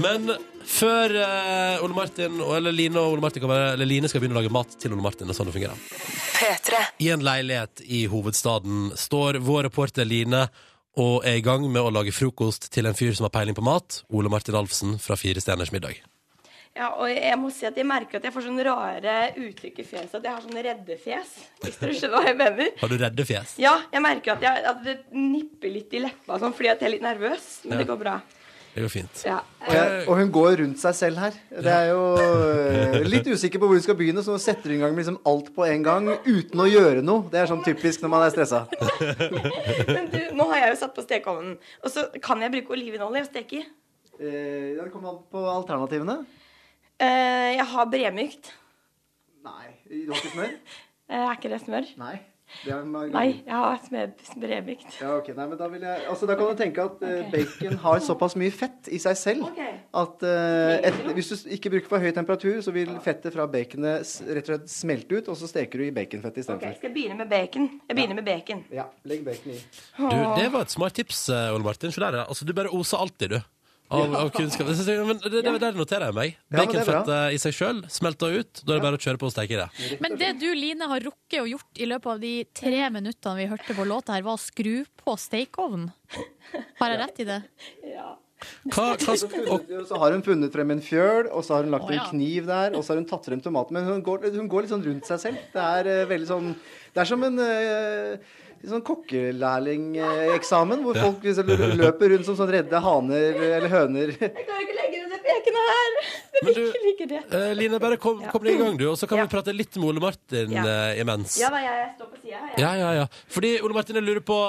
Men før eh, Ole Martin, eller Line, og Ole Martin kan være, eller Line skal begynne å lage mat til Ole Martin, det er sånn det fungerer. I en leilighet i hovedstaden står vår reporter Line og er i gang med å lage frokost til en fyr som har peiling på mat, Ole Martin Alfsen fra Fire stjerners middag. Ja, og jeg må si at jeg merker at jeg får sånn rare uttrykk i fjeset. At jeg har sånn reddefjes, hvis dere skjønner hva jeg mener. Har du redde fjes? Ja, jeg merker at, jeg, at det nipper litt i leppa sånn, fordi at jeg er litt nervøs. Men det går bra. Det går fint. Ja. Og, jeg, og hun går rundt seg selv her. Det er jo øh, litt usikker på hvor hun skal begynne, så hun setter i gang med liksom alt på en gang uten å gjøre noe. Det er sånn typisk når man er stressa. Men du, nå har jeg jo satt på stekeovnen. Og så kan jeg bruke olivenolje og steke i. Eh, ja, det kommer an på alternativene. Eh, jeg har bremykt. Nei. Det var ikke smør? Eh, Er ikke det smør? Nei. Det er margarin. Nei, jeg har smed- smørbikt. Ja, ok, nei, men da, vil jeg, altså, da kan du tenke at eh, bacon har såpass mye fett i seg selv at eh, et, hvis du s- ikke bruker for høy temperatur, så vil fettet fra baconet s- rett og slett smelte ut, og så steker du i baconfett Ok, istedenfor. skal jeg begynne med bacon? Jeg begynner med bacon. Ja, legg bacon i. Du, det var et smart tips, eh, Ole Martin. Se der, ja. altså, du bare oser alltid, du. Av, av kunnskap. Det synes jeg- Men det, det, der noterer jeg meg. Ja, men det er bra. Baconfettet i seg sjøl smelter ut. Da er det bare å kjøre på og steke det. Men det du, Line, har rukket og gjort i løpet av de tre minuttene vi hørte på låta her, var å skru på stekeovnen. Har jeg rett i det? Så funnet- Så har hun funnet frem en fjøl, og så har hun lagt Å, ja. en kniv der, og så har hun tatt frem tomaten. Men hun går, hun går litt sånn rundt seg selv. Det er eh, veldig sånn Det er som en eh, sånn kokkelærlingeksamen, hvor Ja. folk liksom l- løper rundt som sånn redde haner eller høner. Jeg klarer ikke å legge under bekenet her! Det Men blir du- ikke like det. Eh, Line, bare kom, kom deg i gang, du, og så kan vi prate litt med Ole Martin Ja. eh, imens. Ja da, jeg står på sida her. jeg. Ja, ja, ja. Fordi, Ole Martin, jeg lurer på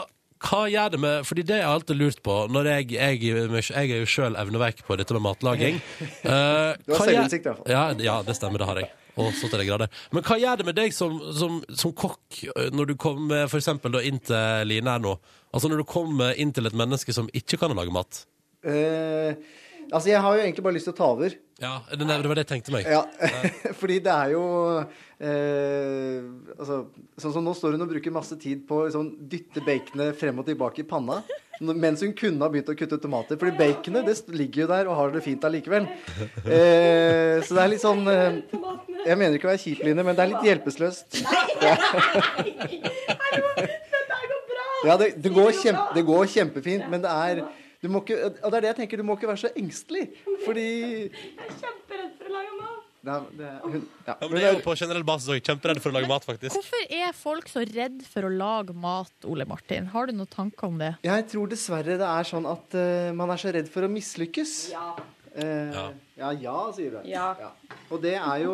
hva gjør det med Fordi det har jeg alltid lurt på når jeg, jeg, jeg er jo sjøl evneveik på dette med matlaging. Eh, Du hva har gjør- selvinnsikt i hvert fall. Ja, ja, det stemmer. Det har jeg. Og så til det grader. Men hva gjør det med deg som, som, som kokk eh, når du kommer for eksempel, da, inn til Line her nå? Altså når du kommer inn til et menneske som ikke kan lage mat? Eh, altså, jeg har jo egentlig bare lyst til å ta over. Ja, Det det var det jeg tenkte meg. Ja, fordi det er jo eh, altså, Sånn som nå står hun og bruker masse tid på å liksom, dytte baconet frem og tilbake i panna. n- Mens hun kunne ha begynt å kutte tomater. Fordi baconet det st- ligger jo der og har det fint allikevel. Eh, så det er litt sånn eh, Jeg mener ikke å være kjip, Line, men det er litt hjelpeløst. Ja, det, det, går kjempe, det går kjempefint, men det er du må ikke, og det er det jeg tenker, du må ikke være så engstelig. Fordi Jeg er kjemperedd for å lage mat. Nei, det, er- hun, ja. Ja, men det er jo på generell basis òg. Kjemperedd for å lage mat, faktisk. Hvorfor er folk så redd for å lage mat, Ole Martin? Har du noen tanker om det? Jeg tror dessverre det er sånn at eh, man er så redd for å mislykkes. Ja. Eh, ja. ja, sier du. Ja. Og det er jo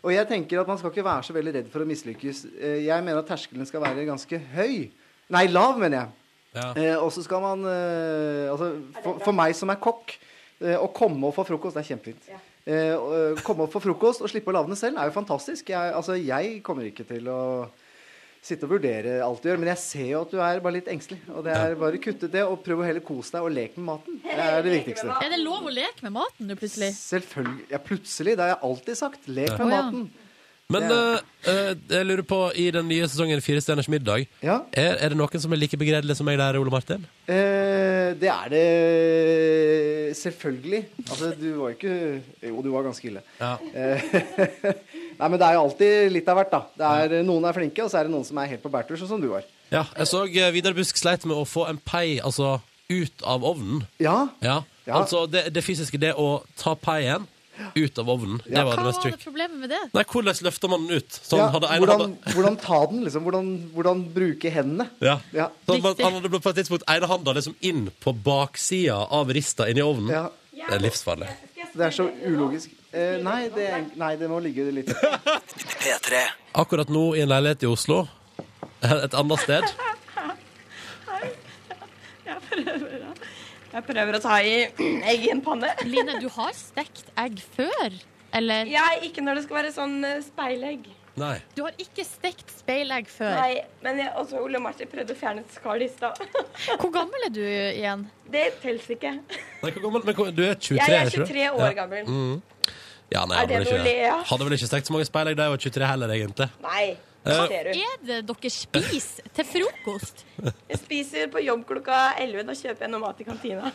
Og jeg tenker at man skal ikke være så veldig redd for å mislykkes. Eh, jeg mener at terskelen skal være ganske høy. Nei, lav, mener jeg. Ja. Eh, og så skal man eh, Altså, for, for meg som er kokk, eh, å komme og få frokost, det er kjempefint. Eh, å, eh, komme og få frokost og slippe å lage den selv er jo fantastisk. Jeg, altså, jeg kommer ikke til å sitte og vurdere alt du gjør, men jeg ser jo at du er bare litt engstelig. Og det er bare kutte det, og prøv å heller kose deg og leke med maten. Det er det viktigste. Er det lov å leke med maten nå, plutselig? Selvfølgelig. Ja, plutselig. Det har jeg alltid sagt. Lek Ja. med Å, ja. maten. Men Det- eh, eh, jeg lurer på, i den nye sesongen Fire stjerners middag, Ja. er, er det noen som er like begredelig som meg der, Ole Martin? Eh, det er det selvfølgelig. Altså, du var ikke Jo, du var ganske ille. Ja. Eh, Nei, men det er jo alltid litt av hvert, da. Det er, Noen er flinke, og så er det noen som er helt på bærtur, sånn som du var. jeg så eh, Vidar Busk sleit med å få en pei altså, ut av ovnen. Ja. Ja. Ja. Altså det, det fysiske, det å ta peien ut av ovnen, det var Hva det mest var det trykk. problemet med det? Nei, hvordan løfter man den ut? Så han ja sånn hadde en hvordan, hadde, hvordan ta den, liksom? Hvordan, hvordan bruke hendene? ja. Ja. Så han, han hadde på et tidspunkt ene handa liksom inn på baksida av rista inni ovnen. ja. Det er livsfarlig. Det er så ulogisk. Eh, nei, det, er- nei, det må ligge litt P3. Akkurat nå i en leilighet i Oslo, et annet sted Jeg prøver, å- jeg prøver å ta i egg i en panne. Line, du har stekt egg før, eller? Jeg, ikke når det skal være sånn eh, speilegg. Nei. Du har ikke stekt speilegg før. Nei, men jeg, også Ole Martin prøvde å fjerne et skall i stad. Hvor gammel er du igjen? Det teller ikke. Nei, hvor gammel, men hvor- du er 23, Jeg er ikke du? 23 Ja. Mm. år gammel. Ja, nei, Er hadde det vel ikke det. noe å le av? Hadde vel ikke stekt så mange speilegg da jeg var 23 heller, egentlig. Nei. Eh, Ser du. Er det dere spiser til frokost? Jeg spiser på jobb klokka 11. Da kjøper jeg noe mat i kantina.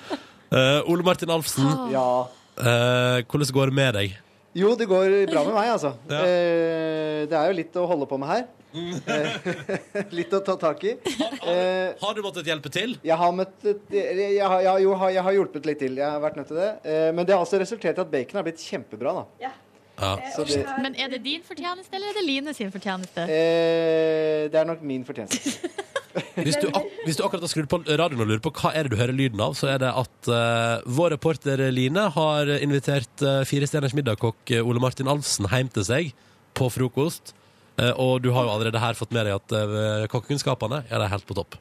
Eh, Ole Martin Alfsen, Ja. eh, hvordan går det med deg? Jo, det går bra med meg, altså. Ja. Eh, det er jo litt å holde på med her. Eh, litt å ta tak i. Eh, Har du måttet hjelpe til? Jeg har møtt et, jeg, jeg, har- jeg, jo, har- jeg har hjulpet litt til. Jeg har vært nødt til det. Eh, Men det har også resultert i at bacon har blitt kjempebra, da. Ja. Ja. Så det, Men er det din fortjeneste, eller er det Line sin fortjeneste? eh, det er nok min fortjeneste. Hvis, du ak hvis du akkurat har skrudd på radioen og lurer på hva er det du hører lyden av, så er det at eh, vår reporter Line har invitert uh, Fire stjerners middagkokk eh, Ole Martin Alfsen hjem til seg på frokost. Eh, og du har jo allerede her fått med deg at uh, kokkekunnskapene ja, de er helt på topp.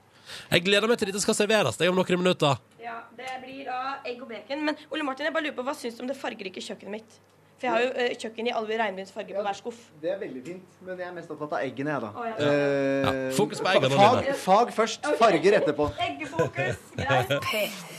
Jeg gleder meg til dette skal serveres jeg, om noen minutter. Ja, det blir da egg og bacon. Men Ole Martin, jeg bare lurer på, hva syns du om det fargerike kjøkkenet mitt? For jeg har jo eh, kjøkken i alle regnbuens farger på hver skuff. Det er veldig fint, men jeg er mest opptatt av eggene, jeg, da. Å, ja. Eh, Ja, fokus på eggene, Fag, Line. fag først, farger etterpå. Eggefokus.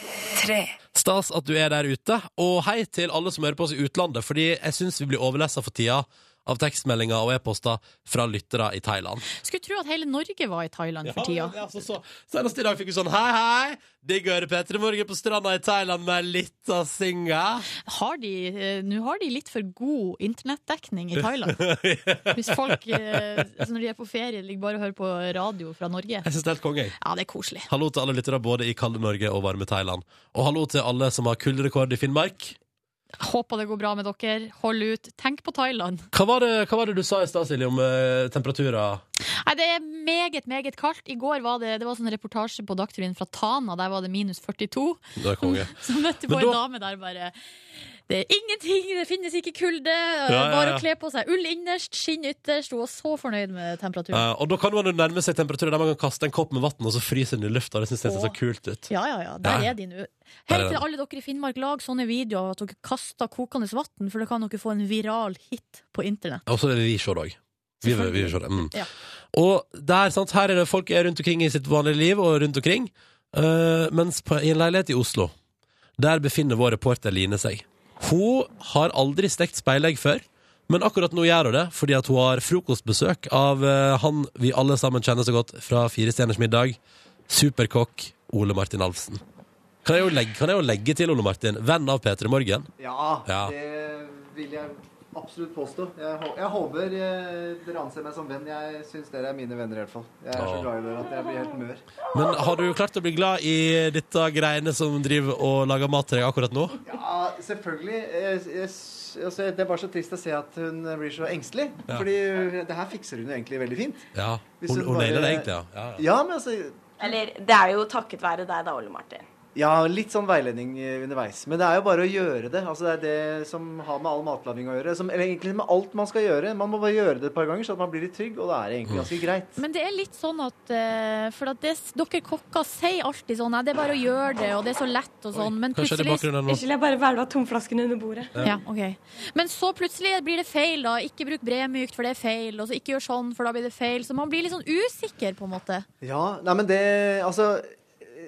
Stas at du er der ute. Og hei til alle som hører på oss i utlandet, fordi jeg syns vi blir overlessa for tida av tekstmeldinger og e-poster fra lyttere i Thailand. Skulle tro at hele Norge var i Thailand for tida. Ja, altså, så, senest i dag fikk vi sånn hei, hei, digg å høre P3 Morgen på stranda i Thailand med litt av singa. Har de, eh, Nå har de litt for god internettdekning i Thailand. Hvis folk eh, så når de er på ferie, ligger bare og hører på radio fra Norge. Jeg syns det er helt konge. jeg. Ja, det er koselig. Hallo til alle lyttere både i kalde Norge og varme Thailand. Og hallo til alle som har kullrekord i Finnmark. Håper det går bra med dere. Hold ut. Tenk på Thailand. Hva var det, hva var det du sa i stad, Silje, om eh, temperaturer? Nei, det er meget, meget kaldt. I går var det, det var sånn reportasje på Dagsrevyen fra Tana. Der var det minus 42. Det er konge. Så møtte jeg på Men en da- dame der bare Det er ingenting, det finnes ikke kulde. ja, ja. Bare å kle på seg ull innerst, skinn ytterst. Hun var så fornøyd med temperaturen. Eh, og da kan man jo nærme seg temperaturer der man kan kaste en kopp med vann, og så fryser den i lufta. Det syns jeg ser så Åh. kult ut. Ja, ja, ja. Der Ja. er de nå. Der Hei er til de. alle dere i Finnmark, lag sånne videoer av at dere kaster kokende vann, for da kan dere få en viral hit på internett. Og så vil vi se det òg. Vi vil, vi vil se det. Mm. Ja. Og der, sant, her er det folk er rundt omkring i sitt vanlige liv og rundt omkring. eh, mens på, i en leilighet i Oslo, der befinner vår reporter Line seg. Hun har aldri stekt speilegg før, men akkurat nå gjør hun det fordi at hun har frokostbesøk av eh, han vi alle sammen kjenner så godt fra Fire stjerners middag, superkokk Ole Martin Alfsen. Kan jeg jo legge, kan jeg jo legge til Ole Martin, venn av P3 Morgen? Ja, Ja. det vil jeg absolutt påstå. Jeg, hå- jeg håper eh, dere anser meg som venn. Jeg syns dere er mine venner, i hvert fall. Jeg er Åh. så glad i dere at jeg blir helt mør. Men har du klart å bli glad i dette greiene som driver og lager mat til deg akkurat nå? Ja, selvfølgelig. Jeg, jeg, altså, det er bare så trist å se at hun blir så engstelig. Ja. Fordi det her fikser hun jo egentlig veldig fint. Ja, Hvis hun, hun hun bare- nailer det egentlig, ja. ja, ja. Ja, men altså Eller det er jo takket være deg, da, Ole Martin. Ja, litt sånn veiledning eh, underveis. Men det er jo bare å gjøre det. Altså, det er det som har med all matlaging å gjøre. Som, eller egentlig med alt man skal gjøre. Man må bare gjøre det et par ganger, så at man blir litt trygg. Og da er det Mm. egentlig ganske greit. Men det er litt sånn at eh, For at det, dere kokker sier alltid sånn Nei, det er bare å gjøre det, og det er så lett og sånn. Men Kanskje det er plutselig bakgrunnen nå. Unnskyld, jeg bare hvelva tomflasken under bordet. Ja, ok. Men så plutselig blir det feil, da. Ikke bruk bremykt, for det er feil. Og så ikke gjør sånn, for da blir det feil. Så man blir litt sånn usikker, på en måte. Ja, nei, men det Altså,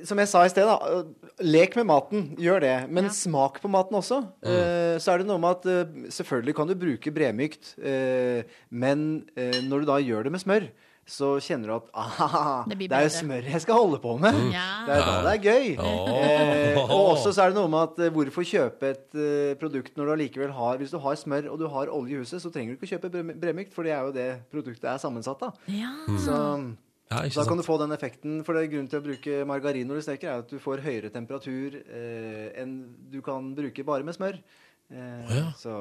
som jeg sa i sted, da. øh, Lek med maten, gjør det. Men smak på maten også. Eh, så er det noe med at eh, selvfølgelig kan du bruke bremykt, eh, men eh, når du da gjør det med smør, så kjenner du at ah, Det det, blir er bedre. jo Mm. smør jeg skal holde på med. Ja. Det er da det er gøy. Åh. Eh, og også så er det noe med at eh, hvorfor kjøpe et eh, produkt når du allikevel har Hvis du har smør og du har olje i huset, så trenger du ikke kjøpe brem- bremykt, for det er jo det produktet er sammensatt av. Så ja ikke da kan sant. du få den effekten, for det er grunnen til å bruke margarin når du steker, er at du får høyere temperatur eh, enn du kan bruke bare med smør. Eh, Å ja. Så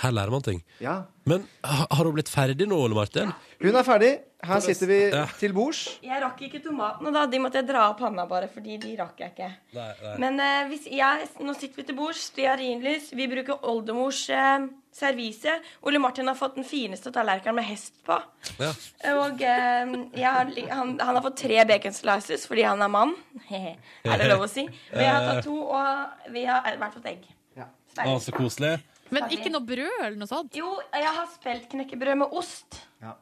Her lærer man ting. ja. Men ha- har hun blitt ferdig nå, Ole Martin? Hun er ferdig. Her sitter vi Ja. til bords. Jeg rakk ikke tomatene, da. De måtte jeg dra av panna bare, fordi de rakk jeg ikke. Nei, Men eh, hvis jeg, nå sitter vi til bords, stearinlys, vi bruker oldemors eh, servise. Ole Martin har fått den fineste tallerkenen med hest på. Ja. Og eh, jeg har, li- han, han har fått tre bacon slices fordi han er mann. er det lov å si? Men jeg har tatt to, og vi har hvert fått egg. Ja. Å, Stein. så koselig. Men ikke noe brød eller noe sånt? Jo, jeg har spelt knekkebrød med ost. Ja.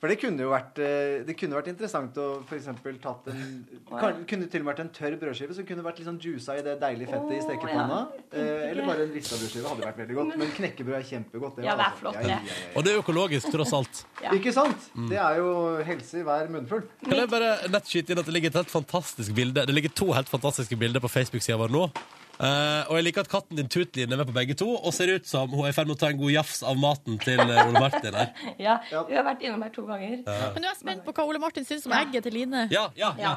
For det kunne jo vært, eh, det kunne vært interessant å f.eks. tatt en kan, Kunne til og med vært en tørr brødskive som kunne vært litt sånn juica i det deilige fettet i Å, stekepanna. ja. Eh, eller bare en rista brødskive hadde vært veldig godt. Men knekkebrød er kjempegodt. Ja, det er altså. flott, ja, det. ja, ja. Og det er økologisk, tross alt. Ja. Ikke sant? Mm. Det er jo helse i hver munnfull. Kan jeg bare nett skyte inn at det ligger et helt fantastisk bilde Det ligger to helt fantastiske bilder på Facebook-sida vår nå. Eh, og jeg liker at katten din Tutlin er med på begge to og ser ut som hun er i ferd med å ta en god jafs av maten til eh, Ole Martin her. Ja, Ja. Vi har vært innom her to ganger. Men nå er jeg spent på hva Ole Martin syns om egget til Line. Ja, ja, ja.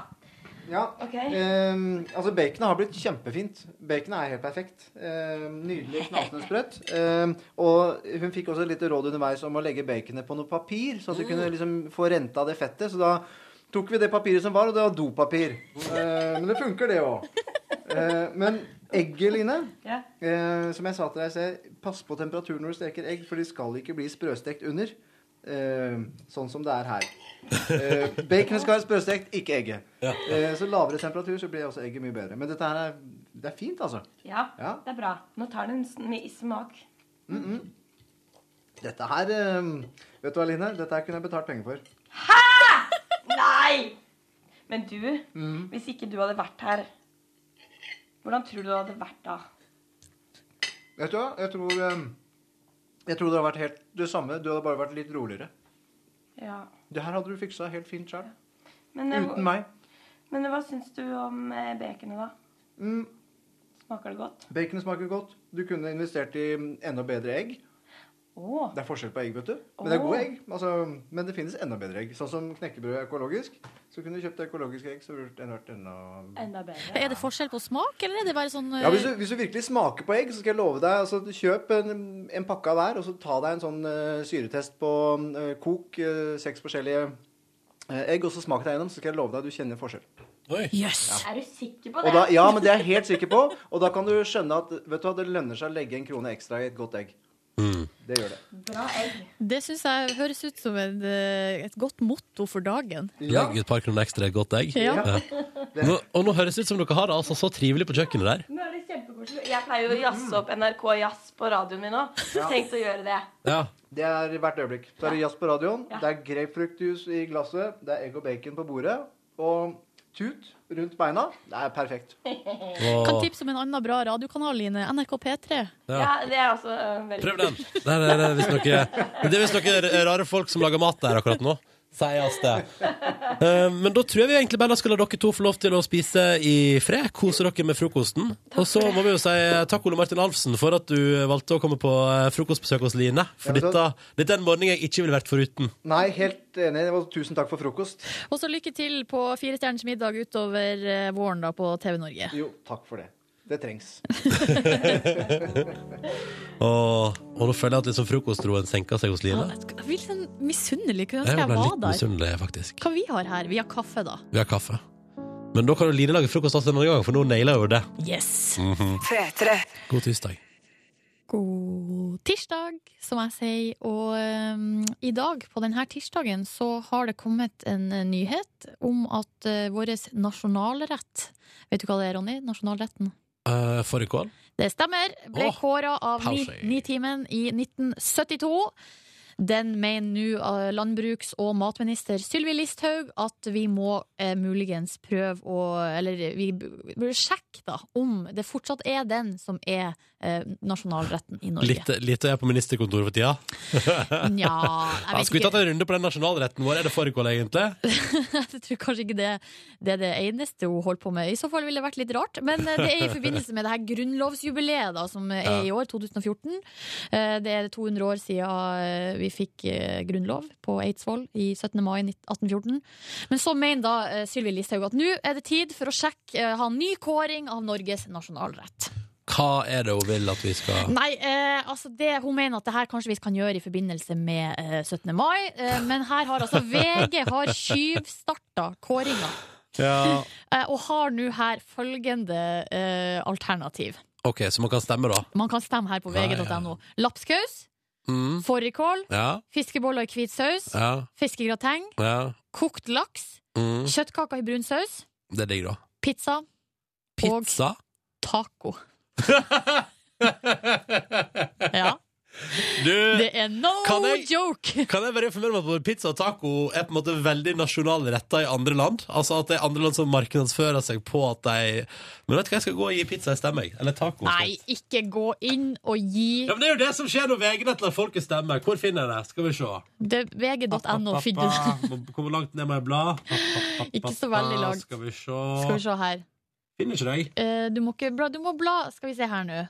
Ja. Ok. Ehm, altså Baconet har blitt kjempefint. Baconet er helt perfekt. Ehm, nydelig, knasende sprøtt. Ehm, og hun fikk også et lite råd underveis om å legge baconet på noe papir, sånn at du kunne liksom få renta av det fettet. Så da tok vi det papiret som var, og det var dopapir. Ehm, men det funker, det òg. men egget, Line, Ja. eh, som jeg sa til deg i sted, pass på temperaturen når du steker egg, for de skal ikke bli sprøstekt under. Ehm, sånn som det er her. Eh, baconet skal være sprøstekt, ikke egget. Eh, så lavere temperatur, så blir også egget mye bedre. Men dette her er, det er fint, altså. Ja, Ja. det er bra. Nå tar den sm- i smak. Dette her eh, Vet du hva, Line? Dette her kunne jeg betalt penger for. Nei! Men du, Mm. hvis ikke du hadde vært her, hvordan tror du det hadde vært da? Vet du hva? Jeg tror, eh, jeg tror det hadde vært helt det samme. Du hadde bare vært litt roligere. Ja. Det her hadde du fiksa helt fint sjøl. Men, eh, Uten meg. Men hva syns du om eh, baconet, da? Smaker det godt? Mm, Baconet smaker godt. Du kunne investert i mm, enda bedre egg. Åh. Det er forskjell på egg, vet du. Men det er Åh. gode egg. Altså, men det finnes enda bedre egg. Sånn som knekkebrød er økologisk. Så kunne du kjøpt økologisk egg, så ville det vært enda Enda bedre. Er det forskjell på smak, eller er det bare sånn ja, hvis, du, hvis du virkelig smaker på egg, så skal jeg love deg altså, Kjøp en, en pakke av hver, og så ta deg en sånn eh, syretest på eh, kok eh, seks forskjellige eh, egg, og så smak deg gjennom, så skal jeg love deg du kjenner forskjell. Er du sikker på Og det? da, ja, men det er jeg helt sikker på. Og da kan du skjønne at vet du, hva, det lønner seg å legge en krone ekstra i et godt egg. Det gjør det. Bra egg. Det syns jeg høres ut som en, eh, et godt motto for dagen. Legg et par kroner ekstra i et godt egg. Ja. Nå, og nå høres det ut som dere har det altså så trivelig på kjøkkenet der. Nå er det kjempekoselig. Jeg pleier jo å jazze opp NRK Jazz på radioen min òg. Ja. Tenkt å gjøre det. Ja. Det er hvert øyeblikk. Så er det jazz på radioen, det er grapefruktjuice i glasset, det er egg og bacon på bordet, og tut rundt beina. Det er perfekt. Kan tipse om en annen bra radiokanal, Line. NRK P3. Ja. Ja, det er også eh, veldig Prøv den. Der er det visst noe, men det er visst noen rare folk som lager mat der akkurat nå. Sies det. Eh, Men da tror jeg vi egentlig bare da skal la dere to få lov til å spise i fred. Kose dere med frokosten. Og så må vi jo si eh, takk, Ole Martin Alfsen, for at du valgte å komme på eh, frokostbesøk hos Line. For Ja, men dette, da- dette er en morgen jeg ikke ville vært foruten. Nei, helt enig. Og Tusen takk for frokost. Og så lykke til på Firestjerners middag utover eh, våren da på TV Norge. Jo, takk for det. Det trengs. Og, og nå føler jeg at liksom frokostroen senker seg hos Line. Jeg blir litt sånn misunnelig. Kunne Jeg ønske jeg ble var litt der. misunnelig, faktisk. Hva vi har her? Vi har kaffe, da. Vi har kaffe. Men da kan jo Line lage frokost også en annen gang, for nå nailer hun det. Yes! Mhm. God tirsdag. God tirsdag, som jeg sier. Og eh, i dag, på denne tirsdagen, så har det kommet en eh, nyhet om at uh, vår nasjonalrett Vet du hva det er, Ronny? Nasjonalretten? Uh, Fårikål? Det stemmer. Ble Åh, kåra av pause. Ni- Nitimen i 1972. Den mener nå eh, landbruks- og matminister Sylvi Listhaug at vi må eh, muligens prøve å Eller vi b- burde sjekke da om det fortsatt er den som er eh, nasjonalretten i Norge. Litt, litt er jeg på ministerkontoret for tida. Nja, jeg Ja, vet Skulle vi ikke. tatt en runde på den nasjonalretten vår? Er det fårikål, egentlig? Jeg tror kanskje ikke det, det er det eneste hun holder på med. I så fall ville det vært litt rart. Men eh, det er i forbindelse med det her grunnlovsjubileet da, som er i år, 2014. Eh, Det er 200 år siden eh, vi fikk eh, grunnlov på Eidsvoll i 17. mai 1814. Men så mener da eh, Sylvi Listhaug at nå er det tid for å sjekke, eh, ha en ny kåring av Norges nasjonalrett. Hva er det hun vil at vi skal Nei, eh, altså det, hun mener at det her kanskje vi kan gjøre i forbindelse med eh, 17. mai, eh, men her har altså VG har tjuvstarta kåringa. ja. Eh, og har nå her følgende eh, alternativ. OK, så man kan stemme, da. Man kan stemme her på Ja, ja. vg.no. Lapskaus, Mm. fårikål, Ja, fiskeboller i hvit saus, ja, fiskegrateng, ja. kokt laks, Mm. kjøttkaker i brun saus, Det er digg, da. pizza og Pizza? taco. Ja, Du, det er no Kan jeg- joke! kan jeg bare informere om at både pizza og taco er på en måte veldig nasjonale retter i andre land? Altså at det er andre land som markedsfører seg på at de Men vet du hva, jeg skal gå og gi pizza en stemme, jeg. Eller taco. Nei, ikke gå inn og gi Ja, men Det er jo det som skjer når VG nettler folket stemmer. Hvor finner jeg det? Skal vi se. Det- vg.no. finner du det. Må- Hvor langt ned må jeg bla? Ikke så veldig langt. Skal vi se. Skal vi se her. Finner ikke deg. Eh, du, må ikke bla, du må bla Skal vi se her nå.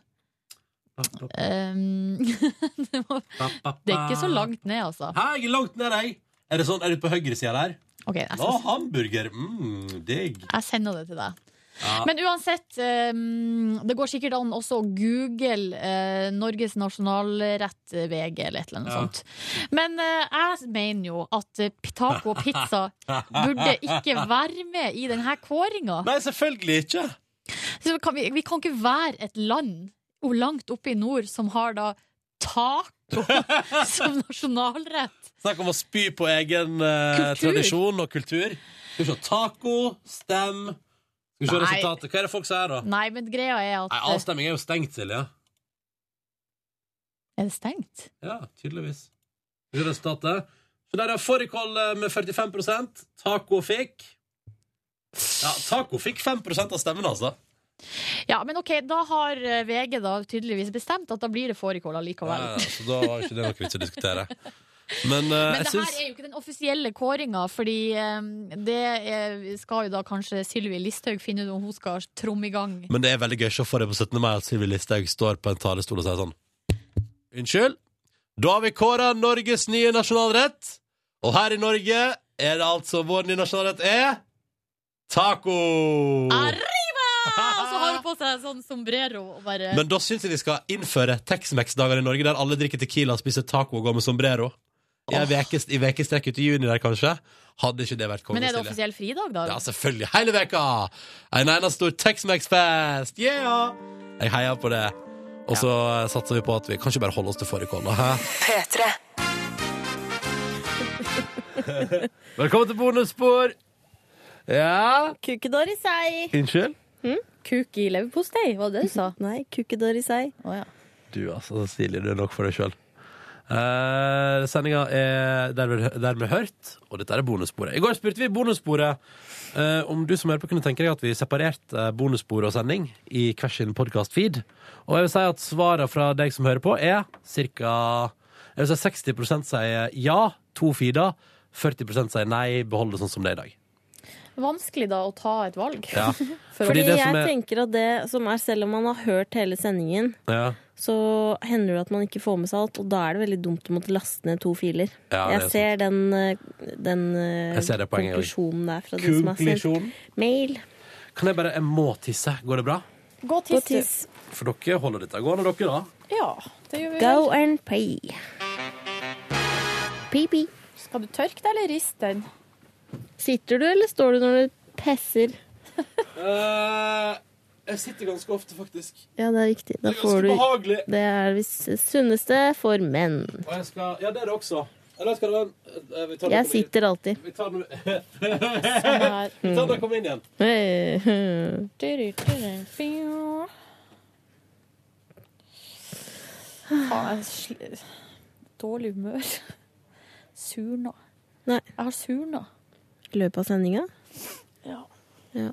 Um, det, må, det er Ah. ikke så langt ned, altså. Hæ, jeg er langt ned, jeg. Er det sånn, er du på høyresida der? Ok, jeg, Å, skal, hamburger. Mm, digg. jeg sender det til deg. Ja. Men uansett, um, det går sikkert an også å google eh, Norges nasjonalrett eh, VG eller et eller annet Ja. sånt. Men eh, jeg mener jo at eh, taco og pizza burde ikke være med i denne kåringa. Nei, selvfølgelig ikke. Så kan vi, vi kan ikke være et land og langt oppe i nord som har da taco som nasjonalrett. Snakk om å spy på egen eh, Kultur. tradisjon og kultur. Skal vi se. Taco, stem. Skal vi se Nei. resultatet. Hva er det folk sier, da? Nei, men greia Nei, er at Avstemming er jo stengt, Silje. eh, Er det stengt? Ja, tydeligvis. Hør Resultatet. Så der er fårikål eh, med 45 Taco fikk Ja, taco fikk 5 av stemmen, altså. Ja, men OK, da har eh, VG da tydeligvis bestemt at da blir det fårikål Ja, allikevel. ja, så da var ikke det noe vits å diskutere. Men, Men eh, det jeg syns her er jo ikke den offisielle kåringa, fordi eh, det er, skal jo da kanskje Sylvi Listhaug finne ut om hun skal tromme i gang. Men det er veldig gøy å se for deg på 17. mai at Sylvi Listhaug står på en talerstol og sier sånn Unnskyld, da har vi kåra Norges nye nasjonalrett, og her i Norge er det altså vår nye nasjonalrett er taco! Arriba! Og så har hun på seg sånn sombrero og bare Men da syns jeg vi skal innføre Tex-Mex-dager i Norge, der alle drikker Tequila, spiser taco og går med sombrero. I en vekes- i ukestrekk ut i juni der, kanskje. Hadde ikke det vært Men er det kongestilig? offisiell fridag, da? Ja, selvfølgelig. Hele veka! En eneste stor Tex-Mex-fest! Yeah! Jeg heier på det. Og så eh, satser vi på at vi kan ikke bare holde oss til fårikål, da. hæ? P3. Velkommen til bonusspor! Ja Kukedår i seg. Unnskyld? Hm? Kuk i leverpostei, var det det du sa? Nei, kukedår i seg. Du, altså, Silje, du er nok for deg sjøl. Uh, Sendinga er dermed, dermed hørt, og dette er bonussporet. I går spurte vi bonussporet eh, om du som hører på kunne tenke deg at vi separerte eh, bonusspor og sending i hver sin podkast-feed. Og jeg vil si at svarene fra deg som hører på, er ca. Jeg vil si 60 sier ja, to feeder. 40 sier nei, behold det sånn som det er i dag. Vanskelig da å ta et valg. Ja. For- Fordi, Fordi det som jeg er- tenker at det som er, selv om man har hørt hele sendingen, Ja. så hender det at man ikke får med seg alt, og da er det veldig dumt å måtte laste ned to filer. Ja, det er jeg ser den, eh, den eh, Jeg ser det poenget også. konklusjonen der fra de som har Konklusjon. sendt mail. Kan jeg bare Jeg må tisse. Går det bra? Gå tiss. For dere holder dette gående, dere, da? Ja, det gjør vi Go vel. and pay. Pipi. Skal du tørke deg eller riste den? Sitter du, eller står du når du pesser? Eh, jeg sitter ganske ofte, faktisk. Ja, det er riktig. Da Det er ganske får du behagelig. Det er visst sunneste for menn. Og jeg skal Ja, det er det også. Eller skal det være Eh, vi tar det når Jeg vi- sitter alltid. Vi tar Sånn det når vi- Vi tar det når vi kommer inn igjen. eh, Faen, jeg sli- Dårlig humør. Surna. Nei. Jeg har surna. I løpet av sendinga? Ja. Ja.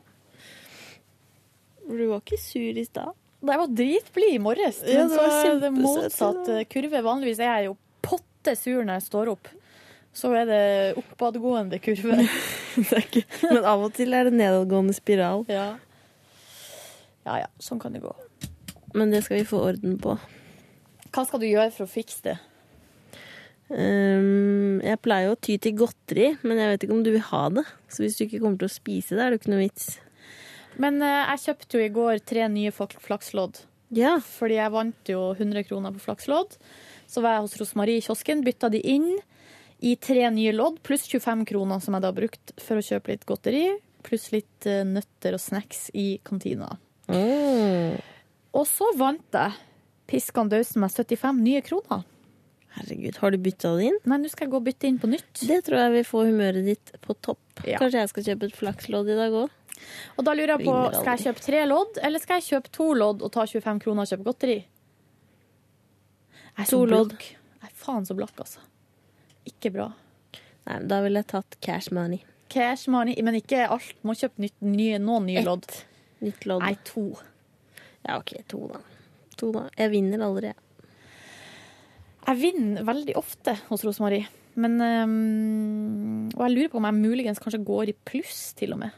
Du var ikke sur i stad. Nei, jeg var dritblid i morges. Ja, Men det så var er det kjempesøt. motsatt kurve. Vanligvis er jeg jo potte sur når jeg står opp. Så er det oppadgående kurve. Men av og til er det nedadgående spiral. Ja. ja ja, sånn kan det gå. Men det skal vi få orden på. Hva skal du gjøre for å fikse det? Ehm, jeg pleier jo å ty til godteri, men jeg vet ikke om du vil ha det. Så hvis du ikke kommer til å spise det, er det jo ikke noe vits. Men eh, jeg kjøpte jo i går tre nye flak- flakslodd. Fordi jeg vant jo 100 kroner på flakslodd. Så var jeg hos Rosmarie i kiosken, bytta de inn i tre nye lodd, pluss 25 kroner som jeg da har brukt for å kjøpe litt godteri, pluss litt eh, nøtter og snacks i kantina. Mm. Og så vant jeg piskan dausen meg 75 nye kroner. Herregud, har du bytta det inn? Nei, nå skal jeg gå og bytte inn på nytt. Det tror jeg vil få humøret ditt på topp. Ja. Kanskje jeg skal kjøpe et flakslodd i dag òg? Og da lurer jeg på, Vinner aldri. skal jeg kjøpe tre lodd, eller skal jeg kjøpe to lodd og ta 25 kroner og kjøpe godteri? Jeg er så To lodd. blakk. Jeg er faen så blakk, altså. Ikke bra. Nei, men da ville jeg tatt cash money. Cash money, men ikke alt. Må kjøpe nytt, nye, noen nye lodd. Nytt lodd. Nei, to. Ja, OK, to, da. To, da. Jeg vinner aldri, jeg. Jeg vinner veldig ofte hos Rosemarie. Men øhm, Og jeg lurer på om jeg muligens kanskje går i pluss, til og med.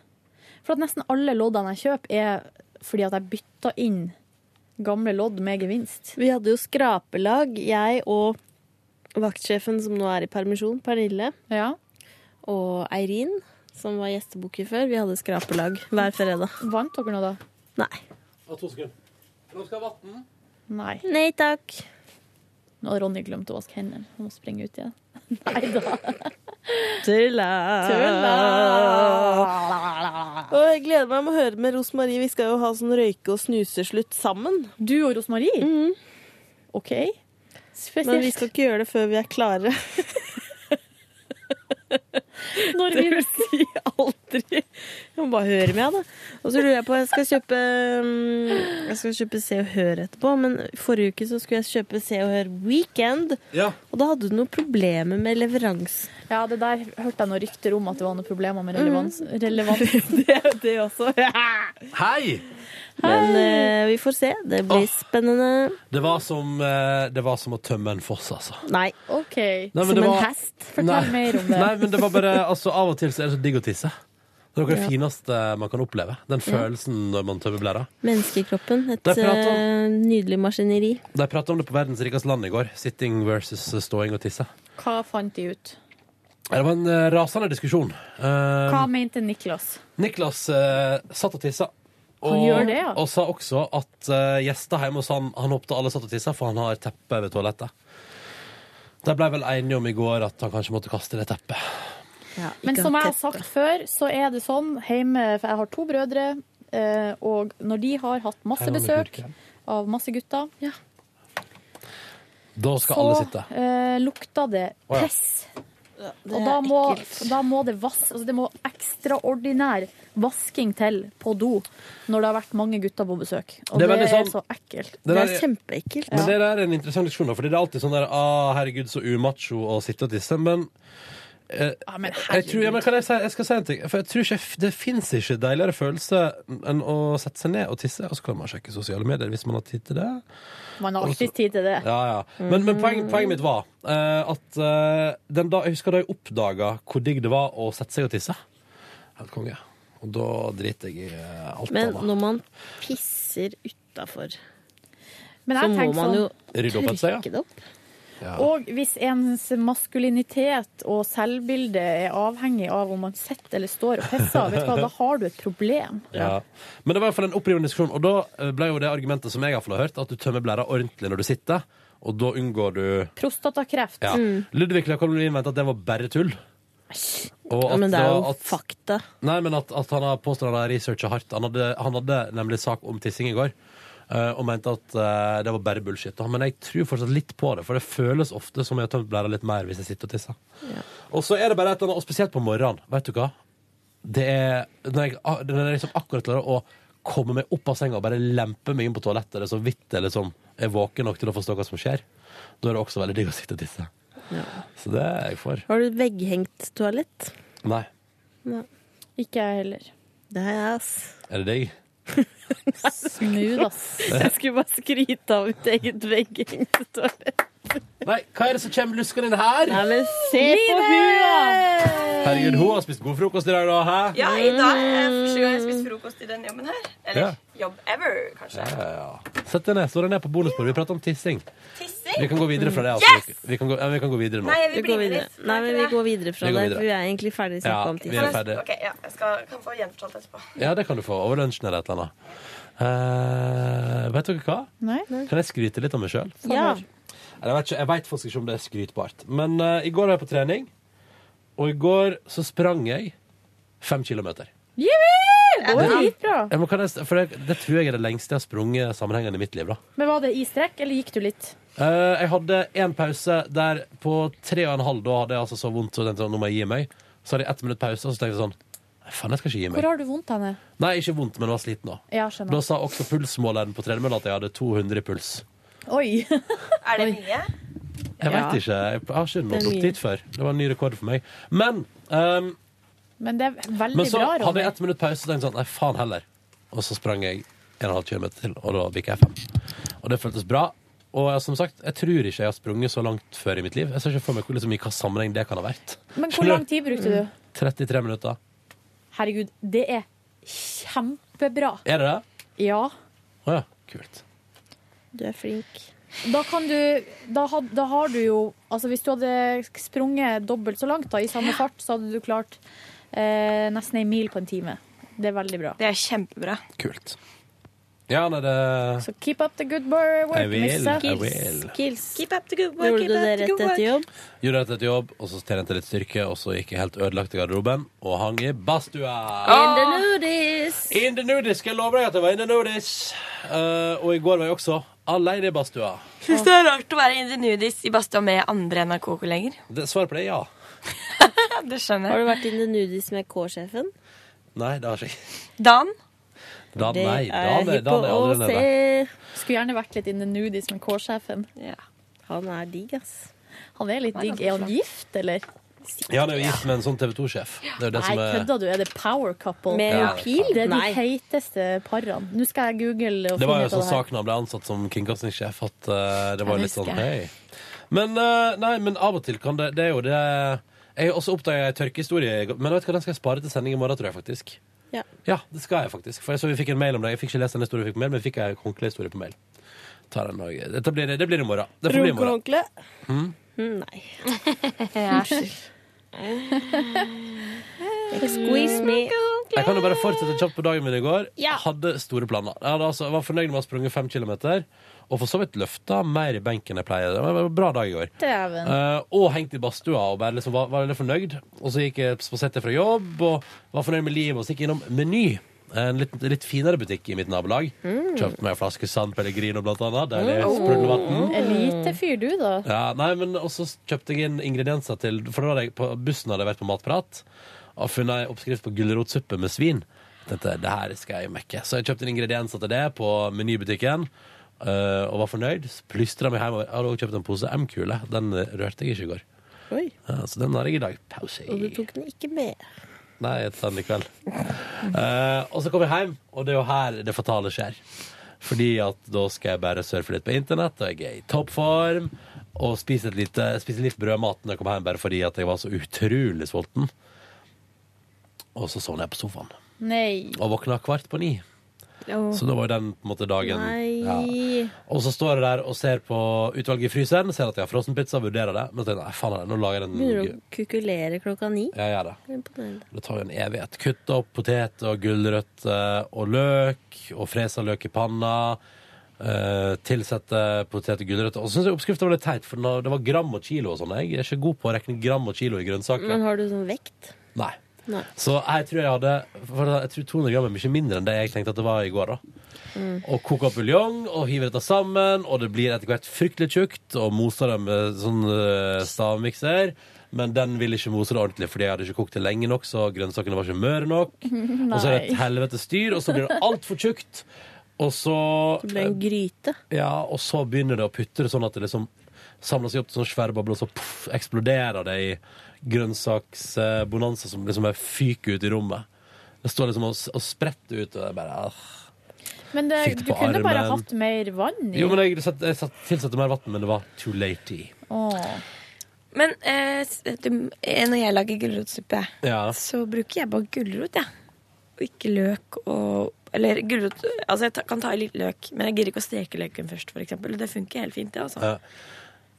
For at nesten alle loddene jeg kjøper, er fordi at jeg bytter inn gamle lodd med gevinst. Vi hadde jo skrapelag, jeg og vaktsjefen som nå er i permisjon, Pernille, og Eirin, som var gjestebukker før. Vi hadde skrapelag hver fredag. Vant dere nå, da? Og to sekunder. Nå skal jeg ha vann. Nei. Nei takk. Nå har Ronny glemt å vaske hendene. Han må springe ut igjen. Nei da. Tulla! Og jeg gleder meg med å høre med Rosmarie. Vi skal jo ha sånn røyke- og snuseslutt sammen. Du og Rosmarie? OK. Spesielt. Men vi skal ikke gjøre det før vi er klare. Når vi Det vil si aldri Jeg må bare høre med, da. Og så lurer jeg på Jeg skal kjøpe mm, Jeg skal kjøpe Se og Hør etterpå, men forrige uke så skulle jeg kjøpe Se og Hør Weekend. Ja. Og da hadde du noen problemer med leveranse. Ja, det der hørte jeg noen rykter om at det var noen problemer med relevans. relevans. det, det også. Hei! Men eh, vi får se. Det blir spennende. Det var, som, eh, det var som å tømme en foss, altså. Nei. OK. Nei, men Som det var- en hest. Fortell Nei. mer om det. Nei, men det var bare altså, Av og til så er det så digg å tisse. Det er noe av Ja. det fineste man kan oppleve. Den Ja. følelsen når man tømmer blæra. Menneskekroppen. Et Det er prat om- eh, nydelig maskineri. De prata om det på Verdens rikeste land i går. Sitting versus ståing og tisse. Hva fant de ut? Det var en eh, rasende diskusjon. Eh, Hva mente Niklas? Niklas eh, satt og tissa. Han gjør det, ja. og sa også at eh, gjester hjemme hos han Han håpte alle satt og tissa, for han har teppe ved toalettet. De ble vel enige om i går at han kanskje måtte kaste det teppet. Men som jeg har sagt før, så er det sånn hjemme For jeg har to brødre, eh, og når de har hatt masse Her har vi besøk purken. av masse gutter, Da skal så alle sitte. eh, lukter det Å, ja. piss. Og da må, da må det vask, altså det må ekstraordinær vasking til på do når det har vært mange gutter på besøk. Og Det det er er, veldig sånn- så ekkelt. Det der er- kjempeekkelt. Men det der er en interessant diskusjon, da, fordi det er alltid sånn der ah, 'Herregud, så umacho å sitte og tisse', men eh, jeg, tror, ja, men kan jeg, si, jeg skal si en ting. For jeg tror ikke, Det fins ikke deiligere følelse enn å sette seg ned og tisse. Og så kan man sjekke sosiale medier hvis man har tid til det. Man har Og så- alltid tid til det. Ja, ja. Men, men poenget, poenget mitt var eh, at eh, den da, jeg husker da jeg oppdaga hvor digg det var å sette seg og tisse. Helt konge. Og da driter jeg i eh, alt Men annet. når man pisser utafor, Men så jeg må tenker man jo sånn- Rydde opp etter seg, tørke det opp. ja. Og hvis ens maskulinitet og selvbilde er avhengig av om man sitter eller står og pisser, vet du hva, da har du et problem. Ja. Men det var i hvert fall en opprivende diskusjon, og da eh, ble jo det argumentet som jeg i hvert fall har hørt, at du tømmer blæra ordentlig når du sitter, og da unngår du Prostatakreft. ja. Mm. Ludvig Lakolin mente at det var bare tull. Og Ja, men det er var- jo fakta. Nei, men at, at han har påstått han har researcha hardt. Han hadde, han hadde nemlig sak om tissing i går. eh, og mente at eh, det var bare bullshit. da. Men jeg tror fortsatt litt på det, for det føles ofte som jeg har tømt blæra litt mer hvis jeg sitter og tisser. Og så er det bare et eller annet, og spesielt på morgenen, vet du hva? Det er når jeg, ah, når jeg liksom akkurat klarer å komme meg opp av senga og bare lempe meg inn på toalettet, eller så vidt jeg liksom er våken nok til å forstå hva som skjer, da er det også veldig digg å sitte og tisse. Så det er jeg for. Har du et vegghengt toalett? Nei. Nei. Ikke jeg heller. Det har jeg, ass. Er det digg? Smooth, ass. Jeg skulle bare skryte av mitt eget vegghengte toalett. Nei, hva er det som kommer luskende inn her? Nei, men se på hua! Herregud, hun har spist god frokost i dag, da. Hæ? Ja, i dag er første gang jeg har spist frokost i den jobben her. Eller Ja. jobb ever, kanskje. Ja, ja, ja. Sett deg ned. Stå deg ned på bonusbordet. Vi prater om tissing. Tissing? Vi kan gå videre fra det. Yes! Altså. Vi, kan gå, ja, vi kan gå videre nå. Nei, jeg vil Vi bli går med videre. litt. Nei, men vi går videre fra Vi går det, videre. for vi er egentlig ferdig snakka Ja, om vi er tissen. ferdig. Ok, ja, jeg skal, kan få gjenfortalt etterpå. Ja, det kan du få. Over lunsjen eller et eller annet. Eh, vet dere hva? Nei. Kan jeg skryte litt av meg sjøl? Ja. Jeg vet, ikke, jeg vet faktisk ikke om det er skrytbart. Men eh, i går var jeg på trening, og i går så sprang jeg fem kilometer. Jippi! Går Det- dritbra. Jeg må, kan jeg, for det, det tror jeg er det lengste jeg har sprunget sammenhengende i mitt liv. da Men var det i strekk, eller gikk du litt? Eh, jeg hadde en pause der på tre og en halv Da hadde jeg altså så vondt Så tenkte jeg sånn, nå må jeg gi meg Så hadde jeg ett minutt pause Og så tenkte jeg sånn Nei, faen, jeg skal ikke gi Hvor meg har du vondt henne? Nei, ikke vondt, men jeg var sliten da Ja, Da skjønner. sa også pulsmåleren på tredemølla At jeg hadde 200 i puls Oi. Er det mye? Jeg Ja. vet ikke Jeg har ikke Det nådd er opp mye. dit før Det var en ny rekord for meg Men, ehm, Men det er veldig men så bra, hadde Ronny. jeg ett minutt pause Og tenkte sånn, nei, faen heller Og så sprang jeg en og en halv kilometer til Og da bikket jeg fem Og det føltes bra og jeg- som sagt, jeg tror ikke jeg har sprunget så langt før i mitt liv Jeg ser ikke for meg hvor- liksom, i hva sammenheng det kan ha vært Men hvor lang tid brukte Mm. du? 33 minutter. Herregud, det er kjempebra. Er det det? Ja. Å ja. Kult. Du er flink. Da kan du da, had, da har du jo Altså hvis du hadde sprunget dobbelt så langt da, i samme fart, så hadde du klart eh, nesten ei mil på en time. Det er veldig bra. Det er kjempebra. Kult. Ja, nei, det Så keep up the good work. Jeg vil, Miss jeg Skills. vil. Keep up the good work. Gjorde keep du up det the rett good etter work. jobb? Gjorde rett etter jobb, og så trente jeg litt styrke, og så gikk jeg helt ødelagt i garderoben og hang i badstua. In Ah. the nudies! In the nudies, skal jeg love deg at jeg var in the nudies. Eh, og i går var jeg også aleine i badstua. Syns det er rart å være in the nudies i badstua med andre NRK-kolleger. Det- Svaret på det er ja. det skjønner jeg. Har du vært in the nudies med K-sjefen? Nei, det har jeg ikke. Dan? Dan, Det nei, er Dan, er- hypp Dan er på å aldri nede. Skulle gjerne vært litt in the nudies med K-sjefen. Han er digg, ass. Han er litt Han digg. er ganske Er han flott. gift, eller? Ja, han er jo gift med en sånn TV 2-sjef. Det er jo det Nei, som er kødda du? Er det power couple? Med Ja. pil? Det er de Nei. heiteste parene. Nå skal jeg google og Det var finne jo ut sånn av det her. saken han ble ansatt som kringkastingssjef, at eh, det var Jeg litt sånn husker. hei. Men, eh, nei, men av og til kan det Det er jo det Jeg har også oppdaga ei tørkehistorie, i går, men vet du hva, den skal jeg spare til sending i morgen, tror jeg faktisk. Ja. Ja, det skal jeg faktisk. For jeg så vi fikk en mail om det. Jeg fikk ikke lest den historien vi fikk på mail, men vi fikk ei håndklehistorie på mail. Tar den og, dette blir, det blir i morgen. Det får bli i morgen. Runkehåndkle? Mm. Nei. Excuse me. Jeg kan jo bare fortsette kjapt på dagen min i går. Ja. Hadde store planer. Jeg hadde altså, jeg var fornøyd med å ha sprunget fem kilometer. Og for så vidt løfta mer i benken enn jeg pleier. Det var en bra dag i går. Dæven. Eh, og hengt i badstua og bare liksom var, var veldig fornøyd. Og så gikk jeg spaserte fra jobb og var fornøyd med livet. Og så gikk jeg innom Meny, en litt, litt finere butikk i mitt nabolag. Kjøpte meg en flaske San Pellegrino blant annet. Deilig sprudlevann. Elitefyr, du, da. Ja, nei, men også kjøpte jeg inn ingredienser til For da hadde jeg på bussen hadde jeg vært på Matprat og funnet en oppskrift på gulrotsuppe med svin. Tenkte, det her skal jeg mekke. Så jeg kjøpte inn ingredienser til det på menybutikken. eh, og var fornøyd. Plystra meg hjemover. Jeg hadde også kjøpt en pose M-kule. Den eh, rørte jeg ikke i går. Oi. Ja, så den har jeg i dag. Pause. Og du tok den ikke med. Nei, jeg tar den i kveld. Eh, og så kom jeg hjem, og det er jo her det fatale skjer. Fordi at da skal jeg bare surfe litt på internett, og jeg er i toppform. Og spise et lite, spise litt brødmat når jeg kom hjem, bare fordi at jeg var så utrolig sulten. Og så sovna jeg på sofaen. Nei. Og våkna kvart på ni. Så da var jo den på en måte dagen. Ja. Nei. Og så står jeg der og ser på utvalget i fryseren, ser at jeg har frossenpizza, vurderer det. Men så tenker jeg, nei, faen, nå lager jeg Begynner å den kukulere klokka ni. Jeg gjør det. Imponerende. Det tar jo en evighet. Kutte opp potet og gulrøtt eh, og løk, og fresa løk i panna. eh, tilsette potet og gulrøtter. Og så syns jeg oppskriften var litt teit, for den har- det var gram og kilo og sånn. Jeg er ikke god på å regne gram og kilo i grønnsaker. Men har du sånn vekt? Nei. Nei. Så jeg tror jeg hadde for jeg tror 200 gram er mye mindre enn det jeg tenkte at det var i går. da Mm. og koker opp buljong og hiver dette sammen, og det blir etter hvert fryktelig tjukt, og moser det med sånn eh, stavmikser. Men den ville ikke mose det ordentlig, fordi jeg hadde ikke kokt det lenge nok, så grønnsakene var ikke møre nok. Og så er det et helvetes styr, og så blir det altfor tjukt. Og så Det ble en gryte. Ja, og så begynner det å putre sånn at det liksom samler seg opp til sånn svære bobler, og så puff, eksploderer det i grønnsaksbonanza som liksom bare fyker ut i rommet. Det står liksom og, og spretter ut, og det er bare ah. Men det, Fikk det du på kunne bare armen. hatt mer vann i. Jo, men jeg, satt, jeg satt, tilsatte mer vann, men det var too late. Men eh, s- du, eh, når jeg lager gulrotsuppe, Ja. så bruker jeg bare gulrot, jeg. Og ikke løk og Eller gulrot Altså, jeg ta, kan ta i litt løk, men jeg gidder ikke å steke løken først, for eksempel. Det funker helt fint, det, altså. Ja.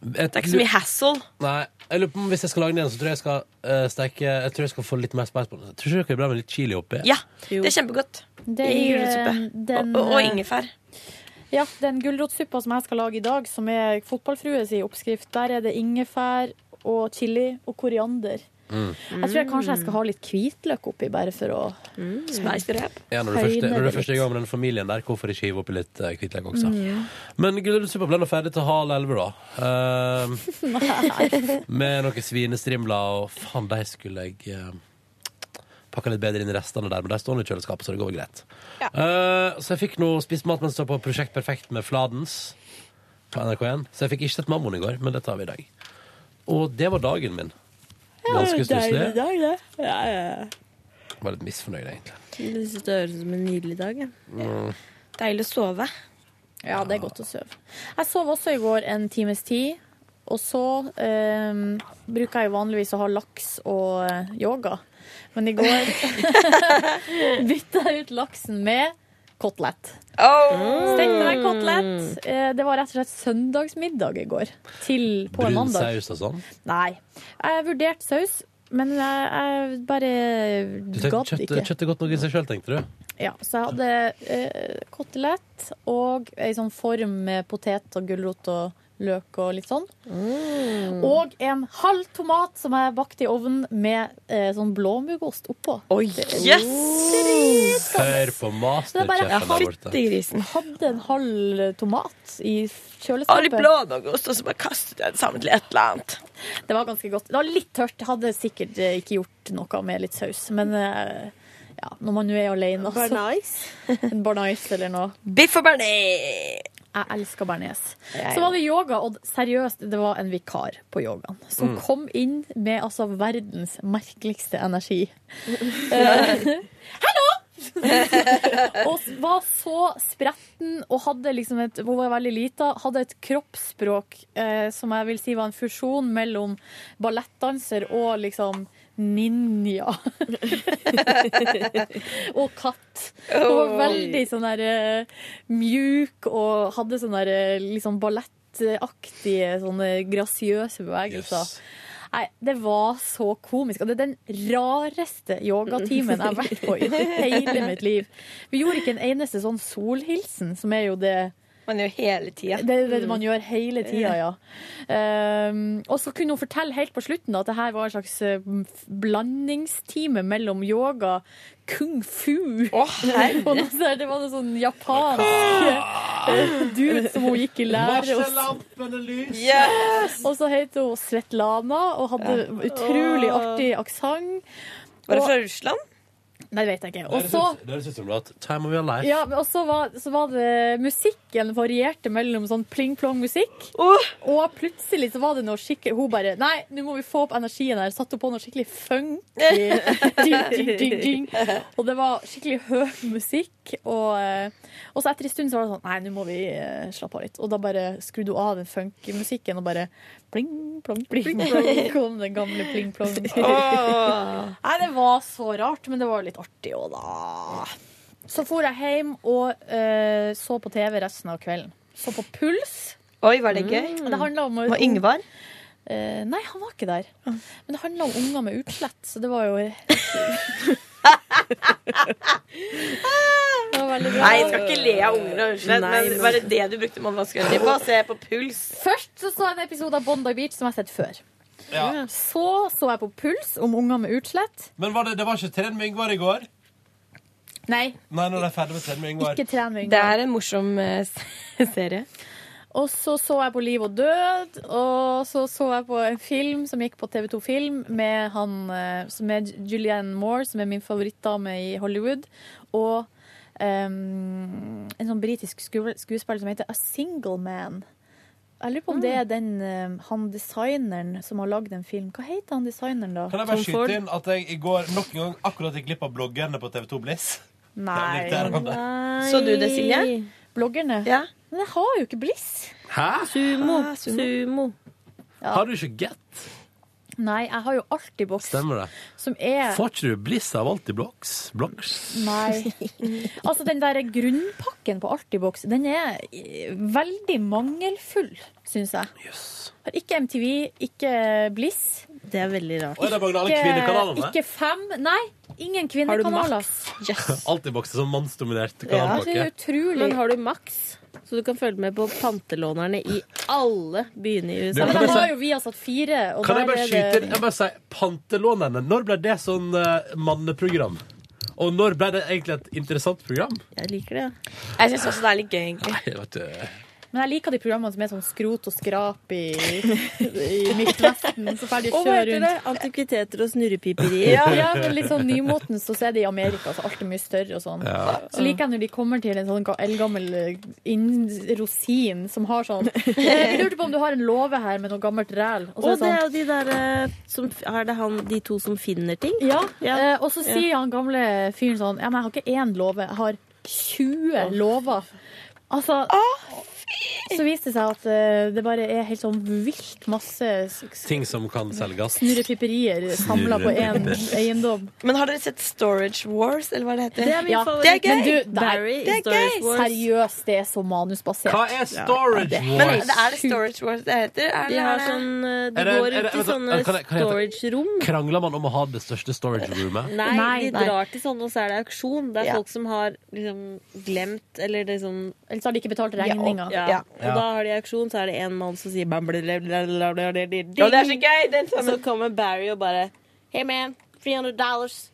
Det er ikke så mye hassle. Nei, jeg lurer på om Hvis jeg skal lage den igjen, så tror jeg jeg skal eh, steke Jeg tror jeg skal få litt mer spice på den. Jeg tror ikke det er bra med litt chili oppi. Ja, det er kjempegodt. Det I eh, er, gulrotsuppe. den, Og, og, og eh, ingefær. Ja, den gulrotsuppa som jeg skal lage i dag, som er fotballfrues i oppskrift, der er det ingefær og chili og koriander. Mm. Jeg tror jeg kanskje jeg skal ha litt hvitløk oppi, bare for å Spice it up. Ja, når du Høyner først, når du det først er i gang med den familien der, hvorfor ikke hive oppi litt eh, hvitløk også? Mm. Men gulrotsuppa ble nå ferdig til halv elleve, da. Eh, med noen svinestrimler, og faen, de skulle jeg eh, pakka litt bedre inn i restene der, men de står nå i kjøleskapet, så det går greit. Eh, så jeg fikk nå spist mat mens jeg så på Prosjekt Perfekt med Fladens på NRK1. Så jeg fikk ikke sett Mammon i går, men det tar vi i dag. Og det var dagen min. Ganske stusslig. Deilig dag, det. Ja, ja. Var litt misfornøyd, egentlig. Jeg synes det høres ut som en nydelig dag. Ja. Mm. Deilig å sove. Ja, det er godt å sove. Jeg sov også i går en times tid. Og så eh, bruker jeg jo vanligvis å ha laks og eh, yoga. Men i går bytta jeg ut laksen med kotelett. Mm. Stekte Mm. meg kotelett. Eh, Det var rett og slett søndagsmiddag i går. Til på Brun en mandag. saus og sånn. Nei. Jeg vurderte saus, men jeg, jeg bare Du tenkte gadd kjøttet, ikke. kjøttet godt nok i seg sjøl, tenkte du? Ja, så jeg hadde eh, kotelett og ei sånn form med potet og gulrot og løk og litt sånn. Og en halv tomat som jeg bakte i ovnen med eh, sånn blåmuggost oppå. Oi, yes! Hør på Så det er bare masterchefen der borte. Fyttegrisen. Hadde en halv tomat i Og litt kjøleskapet. blåmuggost, og så bare kastet jeg det sammen til et eller annet. Det var ganske godt. Det var litt tørt. Hadde sikkert eh, ikke gjort noe med litt saus, men eh, ja, når man nå er alene, altså. Barnais? En barnais eller noe. Biff og bearnés! Jeg elsker bearnés. Ja, ja. Så var det yoga, og seriøst, det var en vikar på yogaen som Mm. kom inn med altså verdens merkeligste energi. Nei. Eh, og s- var så spretten og hadde liksom et Hun var veldig lita. Hadde et kroppsspråk eh, som jeg vil si var en fusjon mellom ballettdanser og liksom ninja. og katt. Hun var veldig sånn der eh, mjuk og hadde sånn der eh, liksom ballettaktige, sånne grasiøse bevegelser. Nei, Det var så komisk. Og det er den rareste yogatimen jeg har vært på i hele mitt liv. Vi gjorde ikke en eneste sånn solhilsen, som er jo det Man gjør hele tida. Det er det man gjør hele tida, ja. Ehm, og så kunne hun fortelle helt på slutten da, at det her var en slags eh, f- blandingstime mellom yoga, kung fu herre. og noe sånt. Det var noe sånn japansk eh, dude som hun gikk i lære hos. Og så het hun Svetlana og hadde Ja. utrolig artig aksent. Var det Og- fra Russland? Nei, det vet jeg ikke. Og Det så høres ut- Det høres ut som det var et Time of Your Life. ja, men også var, så var det musikken varierte mellom sånn pling-plong-musikk. Og plutselig så var det noe skikkelig Hun bare Nei, nå må vi få opp energien her. Satte hun på noe skikkelig funky. ding, ding, ding, ding. Og det var skikkelig høy musikk. Og, eh, og så etter en stund så var det sånn Nei, nå må vi eh, slappe av litt. Og da bare skrudde hun av den funky-musikken, og bare pling, plong, pling, plong kom den gamle pling-plong. Åh. Nei, det var så rart, men det var jo litt artig òg, da. Så for jeg hjem og eh, så på TV resten av kvelden. Så på Puls. Oi, var det gøy? Mm. Det handla om Var Yngvar? Eh, nei, han var ikke der. Men det handla om unger med utslett, så det var jo Det var veldig bra. Nei, jeg skal ikke le av ungene, unnskyld. Nei, Men men- var det det du brukte månedsgrensa på? Se på puls. Først så, så jeg en episode av Bondi Beach som jeg har sett før. Ja. Så så jeg på Puls om unger med utslett. Men var det, det var ikke Tren med Yngvar i går? Nei, Nei, når de er ferdig med Tren med Yngvar. ikke tren med Det Yngvar. er en morsom eh, serie. Og så så jeg på Liv og død, og så så jeg på en film som gikk på TV2 Film med, han, eh, som er Julianne Moore, som er min favorittdame i Hollywood, og em, en sånn britisk sku- skuespiller som heter A Single Man. Jeg lurer på om det er den, em, han designeren som har lagd en film. Hva heter han designeren, da? Kan jeg bare skyte inn at jeg i går nok en gang akkurat gikk glipp av bloggerne på TV2 Bliss? Nei. Jeg likte det. Nei. Så du det, Silje? Bloggerne? Ja. Ah, Men jeg har jo ikke Bliss. Hæ? Sumo. Ja. Har du ikke Get? Nei, jeg har jo Altibox, Stemmer det. som er Får ikke du Bliss av alltid blogs? Blogs? Nei. Altså, den der grunnpakken på Altibox, den er eh, veldig mangelfull, syns jeg. Har ikke MTV, ikke Bliss. Det er veldig rart. Oi, det mangler alle kvinnekanalene. Ikke fem. Nei, ingen kvinnekanaler. Alltid bokser som sånn mannsdominert Ja, kanalpakke. Men har du maks, så du kan følge med på pantelånerne i alle byene i USA? Du, kan Men jeg de si- har jo Viasat 4. Kan jeg bare skyte inn? Jeg bare sier, Pantelånerne, når ble det sånn eh, manneprogram? Og når ble det egentlig et interessant program? Jeg liker det. Jeg syns også det er litt gøy, egentlig. Jeg vet, eh, Men jeg liker de programmene som er sånn skrot og skrap i, i Midtvesten. Så ferdig Og hva kjøre heter det? rundt. Antikviteter og snurrepiperier. Ja, ja, men litt sånn nymotens, og så er det i Amerika, så alt er mye større og sånn. Ja. Så liker jeg når de kommer til en sånn ga- eldgammel eh, inn- rosin som har sånn eh, Vi lurte på om du har en låve her med noe gammelt ræl. Og Og så er det det sånn er jo de der eh, som Er det han, de to som finner ting? Ja. eh, Og så sier han gamle fyren sånn Ja, men jeg har ikke én låve, jeg har 20 låver. Altså Så viste det seg at eh, det bare er helt sånn vilt masse s- ting som kan selges. snurrepiperier samla på én Snurrepipper. eiendom. Men har dere sett Storage Wars, eller hva det heter? Det er min ja. favoritt. det er gøy! Men du, det er- Barry i det er Storage gøy! Wars. Seriøst, det er så manusbasert. Hva er Storage Ja, det Wars? Men er det Storage Wars det heter? Er De det- har er det- sånn eh, De Er det- går er det- ut i vent da, sånne kan jeg- kan jeg- storage-rom. Krangler man om å ha det største storage roomet? Nei, de nei. drar til sånne, og så er det auksjon. Det er Ja. folk som har liksom glemt eller liksom Eller så har de ikke betalt Ja, regninga. Ah, og, ja. Ja. og da har de auksjon, så er det en mann som sier bam, bla, bla, bla, bla, bla, bla, bla, Ja, det er så gøy! Den Og så sammen. kommer Barry og bare Hey man, 300 dollars.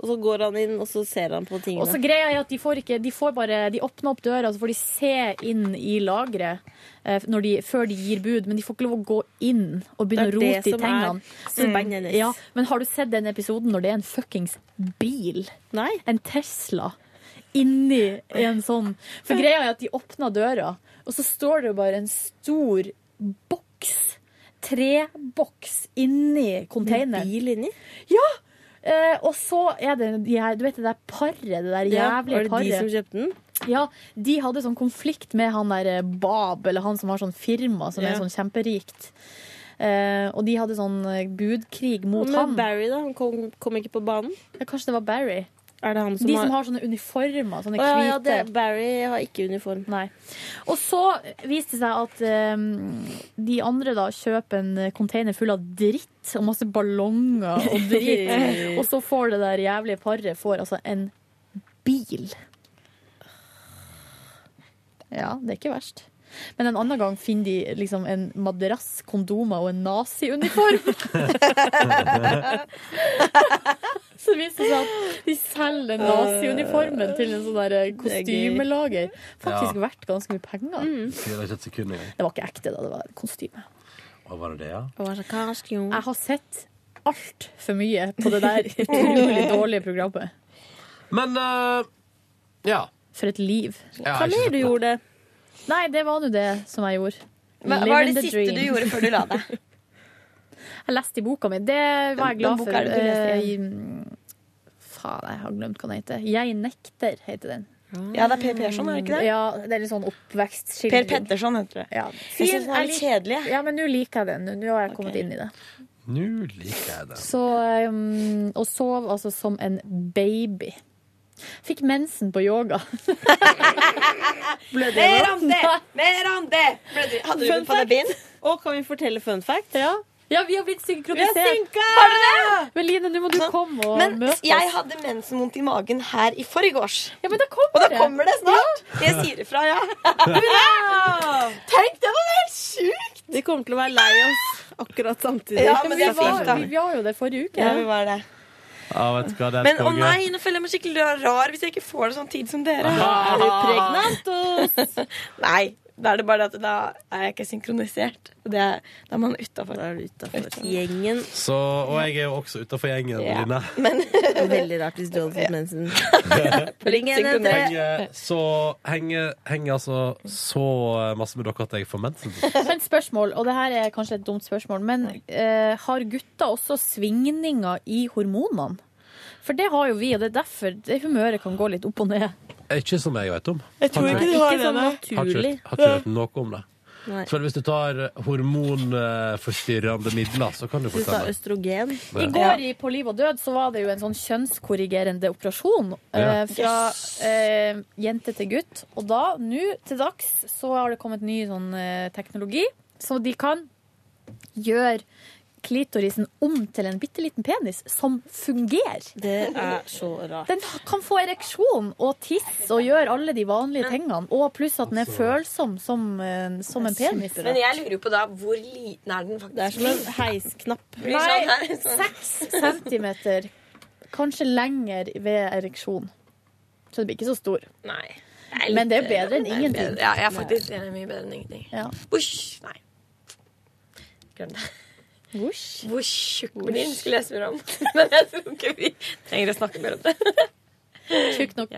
Og så går han inn, og så ser han på tingene. Og så greia er at de får ikke De får bare De åpner opp døra, så får de se inn i lageret eh, når de, før de gir bud, men de får ikke lov å gå inn og begynne å Det er rote det i som er tingene. Mm. spennende. Ja, men har du sett den episoden når det er en fuckings bil? Nei. En Tesla inni en sånn For greia er at de åpner døra, og så står det jo bare en stor boks. Treboks inni containeren. Med bil inni? Ja! Eh, og så er det de her, du vet det der paret, det der Ja, jævlige var det de paret. som kjøpte den? Ja, de hadde sånn konflikt med han der eh, Bab, eller han som har sånn firma som Ja. er sånn kjemperikt. Eh, og de hadde sånn eh, budkrig mot Men han. Barry, da? Han kom, kom ikke på banen? Ja, kanskje det var Barry. Er det han som de har som har sånne uniformer, sånne Å, ja, hvite. ja, det- Barry har ikke uniform. Nei. Og så viste det seg at eh, de andre da kjøper en container full av dritt og masse ballonger og dritt. og så får det der jævlige paret får altså en bil. Ja, det er ikke verst. Men en annen gang finner de liksom en madrass, kondomer og en naziuniform. så det viser det seg at de selger naziuniformen til en sånn der kostymelager. Faktisk Ja. verdt ganske mye penger. Tviler ikke et sekund engang. Det var ikke ekte, da. Det var kostyme. Hva var det det, ja? Ah, Jeg har sett altfor mye på det der utrolig dårlige programmet. Men eh, ja. For et liv. Ja, Hva jeg mer synes du det- gjorde? Nei, det var nå det som jeg gjorde. Hva- hva Living er det the siste du dream. gjorde før du la deg? Jeg leste i boka mi. Det var jeg Den- den glad boka for. er det du leste Eh, i- Faen, jeg har glemt hva den heter. Jeg nekter, heter den. Ja, det er Per Persson, er det ikke det? Ja, det er litt sånn oppvekstskildring. Per Petterson heter det. Ja. Jeg synes den er litt kjedelig. Ja, men nå liker jeg den. Nå- Nå har jeg kommet inn i det. Nå liker jeg det. Så, um, og sov altså som en baby. Fikk mensen på yoga. Blødde jeg Mer nå? om det! Mer om det! Blødde- Hadde du den på deg bind? Og kan vi fortelle fun fact? Ja. Ja, vi har blitt synkronisert. Vi har synka! Har du det? Men Line, nå må du komme og Men møte oss. jeg hadde mensenvondt i magen her i forgårs. Ja, men da kommer Og da det. kommer det snart. Jeg sier ifra, ja. Hurra! Tenk, det var helt sjukt! Vi kommer til å være lei oss akkurat samtidig. Ja, men det er var, fint, da. vi, vi var jo der forrige uke. Ja, vi var det. Ja, vet du hva, det er Men å konge. nei, nå føler jeg meg skikkelig rar hvis jeg ikke får det sånn tid som dere. Ah. Er du nei. Da er det bare det at da er jeg ikke synkronisert. Og Det er, da er man utafor. Gjengen. Så, og jeg er jo også utafor gjengen, Ja. Line. Veldig rart hvis du hadde fått mensen. Bring en en Henger så henger, henger altså så eh, masse med dere at jeg får mensen. Men spørsmål, og det her er kanskje et dumt spørsmål, men eh, har gutter også svingninger i hormonene? For det har jo vi, og det er derfor det humøret kan gå litt opp og ned. Ikke som jeg vet om. Jeg tror ikke du har Ikke det, sånn nei. Har ikke, naturlig. hørt- har ikke hørt noe om det. Nei. Så hvis du tar eh, hormonforstyrrende midler, så kan du Du sa fortelle. østrogen. I går i På liv og død så var det jo en sånn kjønnskorrigerende operasjon Ja. eh, fra eh, jente til gutt. Og da, nå til dags, så har det kommet ny sånn eh, teknologi, så de kan gjøre klitorisen om til en bitte liten penis som fungerer. Det er så rart. Den kan få ereksjon og tiss og gjøre alle de vanlige tingene. Og pluss at den er følsom som, eh, som en penis. Men jeg lurer jo på da hvor liten er den faktisk? Det er som en heisknapp. Blir sånn her, Nei, sånn. seks centimeter. Kanskje lenger ved ereksjon. Så det blir ikke så stor. Nei. Men det er bedre enn ingenting. Ja, jeg er faktisk jeg er mye bedre enn ingenting. Ja. Bush! Nei. Glem det. Vosh. Hvor tjukk blir den, skulle jeg spørre om. Men jeg tror ikke vi trenger å snakke mer om det. Tjukk nok.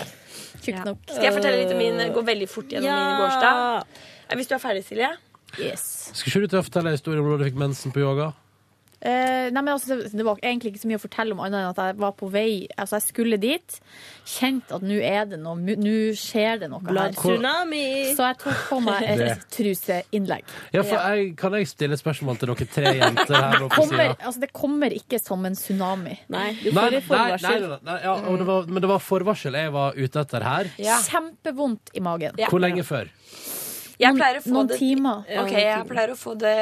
Tjukk nok. Skal jeg fortelle litt om min Gå veldig fort gjennom Ja. min gårsdag? Eh, Hvis du er ferdig, Silje? Yes. Skal ikke du til å fortelle en historie om når du fikk mensen på yoga? Eh, nei, men altså, det- det var egentlig ikke så mye å fortelle om annet enn at jeg var på vei Altså, jeg skulle dit. Kjente at nå er det noe. mu- Nå skjer det noe her. Blood tsunami. Så jeg tok på meg et truseinnlegg. Ja, for jeg, kan jeg stille et spørsmål til dere tre jenter her Det oppe på sida? kommer, altså, det kommer ikke som en tsunami. Nei, Nei, nei, nei, nei, nei, ja, og det var, men det var forvarsel jeg var ute etter her. Kjempevondt i magen. Hvor lenge før? Jeg pleier å få noen det timer. Ja, Ok, noen jeg timer. pleier å få det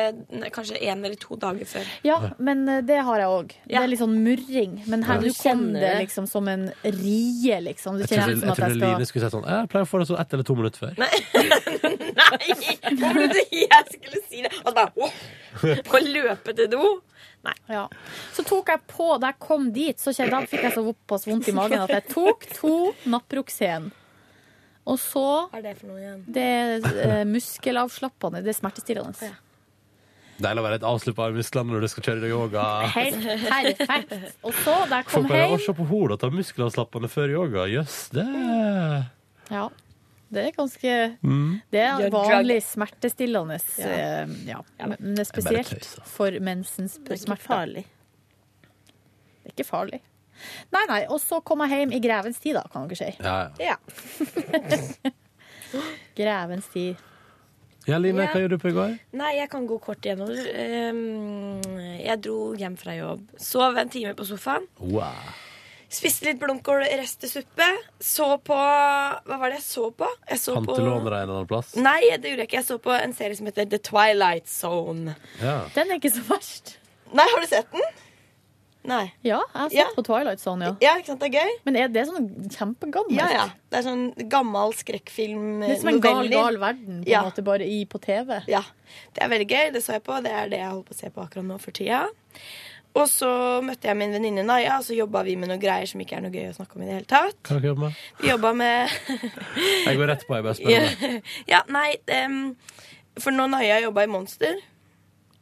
nei, kanskje én eller to dager før. Ja, men eh, det har jeg òg. Det er litt sånn murring. Men her Ja. nå Du kom kjenner det det. liksom som en rie, liksom. Det Jeg trodde, kjennes som jeg at jeg trodde skal Line skulle si sånn Jeg pleier å få det sånn ett eller to minutter før. Altså, Nei! Hvorfor trodde du jeg skulle si det? Og så bare «Åh!» På å løpe til do. Ja. Så tok jeg på, da jeg kom dit, så kjente, da fikk jeg såpass vondt i magen at jeg tok to Naproxen. Og så Hva er det for noe igjen? Det er eh, muskelavslappende, det er smertestillende. Deilig å være litt avsluppa av musklene når du skal kjøre yoga. Helt perfekt. Og så, da jeg Folk kom bare hjem å se på henne og ta muskelavslappende før yoga. Jøss, det Ja, det er ganske Mm. Det Gjør er vanlig smertestillende. Ja. eh, Ja. Men det er Det er bare spesielt for mensens smerte. Det er ikke farlig. Det er ikke farlig. Nei, nei. Og så kom jeg hjem i grevens tid, da, kan dere si. Ja, ja. grevens tid. Ja, Line, Ja. hva gjorde du på i går? Nei, jeg kan gå kort igjennom. Ehm, Jeg dro hjem fra jobb. Sov en time på sofaen. Wow. Spiste litt blomkålrestesuppe. Så på Hva var det jeg så på? Jeg så på Pantelåner deg en eller annen plass? Nei, det gjorde jeg ikke. Jeg så på en serie som heter The Twilight Zone. Ja. Den er ikke så verst. Nei, har du sett den? Nei. Ja, jeg har sett på Twilight Zone, ja. Ja, ikke sant, det er gøy? Men er det sånn kjempegammelt? Ja, ja. Det er sånn gammel skrekkfilm. Det er som en gal, noveller. gal verden, på Ja. en måte, bare i, på TV. Ja. Det er veldig gøy. Det så jeg på. Det er det jeg holder på å se på akkurat nå for tida. Og så møtte jeg min venninne Naya, og så jobba vi med noen greier som ikke er noe gøy å snakke om i det hele tatt. Hva har dere jobbet med? Vi jobba med Jeg går rett på, jeg bare spør. ja, om det. ja, nei em, For når Naya jobba i Monster,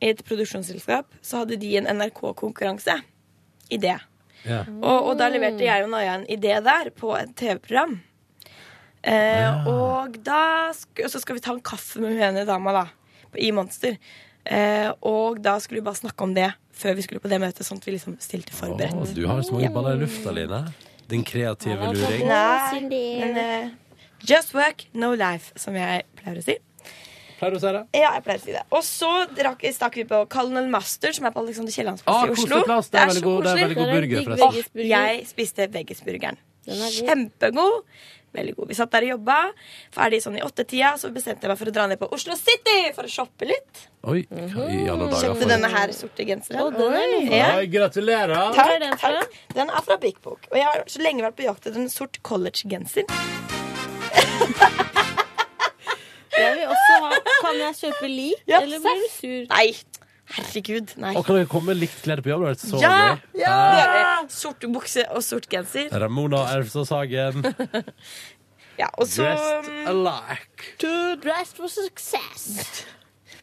i et produksjonsselskap, så hadde de en NRK-konkurranse i det. Ja. Og, og da leverte jeg og Naya en idé der på et TV-program. Eh, Og da sk og så skal vi ta en kaffe med hun ene dama da, på- i Monster. Eh, og da skulle vi bare snakke om det før vi skulle på det møtet, sånn at vi liksom stilte forberedt. Å, du har jo så mange baller i lufta, Line. Din kreative luring. Nei, men eh, Just work, no life, som jeg pleier å si. Pleier du å si det? Ja, jeg pleier å si det. Og så drakk, stakk vi på Colonel Master, som er på Alexander Kiellands plass Ah, i Oslo. koselig plass. Det er veldig så god- det er koselig. veldig god Der er burger, digg forresten. Åh, veggisburger. jeg spiste veggisburgeren. Den er god. Kjempegod. Veldig god. Vi satt der og jobba. Ferdig sånn i åttetida, så bestemte jeg meg for å dra ned på Oslo City for å shoppe litt. Oi, hva i alle dager Kjøpte denne her sorte genseren. Ja. Oi, gratulerer. Takk, takk. Den er fra Big Book. Og jeg har så lenge vært på jakt etter en sort college-genser. Jeg vil også ha Kan jeg kjøpe lik, Ja, eller blir du sur? Nei. Herregud, nei. Og kan dere komme med likt kledd på jobb? Det har vært så ja! gøy. ja! Det gjør vi. Sort bukse og sort genser. Ramona Erfsås Hagen. Ja, og så Dressed alike. To dressed for success.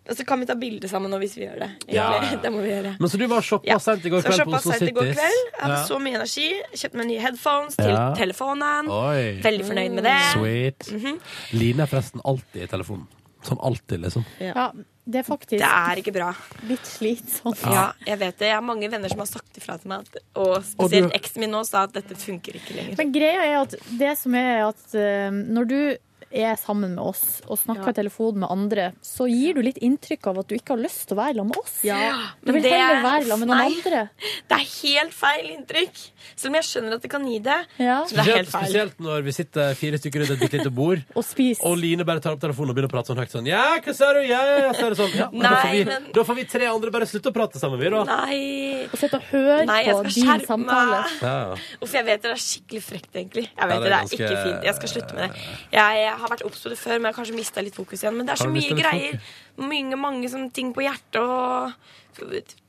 Og så kan vi ta bilde sammen nå hvis vi gjør det. Ja. Egentlig, Det må vi gjøre. Men så du var shoppa sent i går Så kveld på shoppa Oslo sent i går Cities? kveld. Jeg hadde Ja. så mye energi. Kjøpte meg nye headphones til Ja. telefonen. Oi. Veldig fornøyd med det. Sweet. Mhm. Line er forresten alltid i telefonen. Som alltid, liksom. Ja, det er faktisk Det er ikke bra. Litt slitsomt. Ja. Ja, jeg vet det. Jeg har mange venner som har sagt ifra til meg, at, og Og spesielt du- eksen min nå sa at dette funker ikke lenger. Men greia er at det som er at eh, når du er sammen med oss og snakker i telefon med andre, så gir du litt inntrykk av at du ikke har lyst til å være sammen med oss. Ja, du men vil det heller er- være sammen med noen nei. andre. Det er helt feil inntrykk. Selv om jeg skjønner at det kan gi det. Så det er Spesielt, helt feil. spesielt når vi sitter fire stykker rundt et bitte lite bord, og, Line bare tar opp telefonen og begynner å prate sånn høyt sånn Ja, hva sa du? Ja, ja, ja, så er det sånn. Ja, men da, får Nei, vi, men- da får vi tre andre bare slutte å prate sammen, vi, da. Nei. Og sitte og høre Nei, jeg på skal din skjerpe samtale. meg. Ja, ja. Uff, jeg vet det er skikkelig frekt, egentlig. Jeg Ja, det vet det, er det er ganske- ikke fint. Jeg skal slutte med det. Jeg, jeg har vært obs på det før, men jeg har kanskje mista litt fokus igjen. Men det er Har så du mistet mye litt greier. Mange, mange sånne ting på hjertet og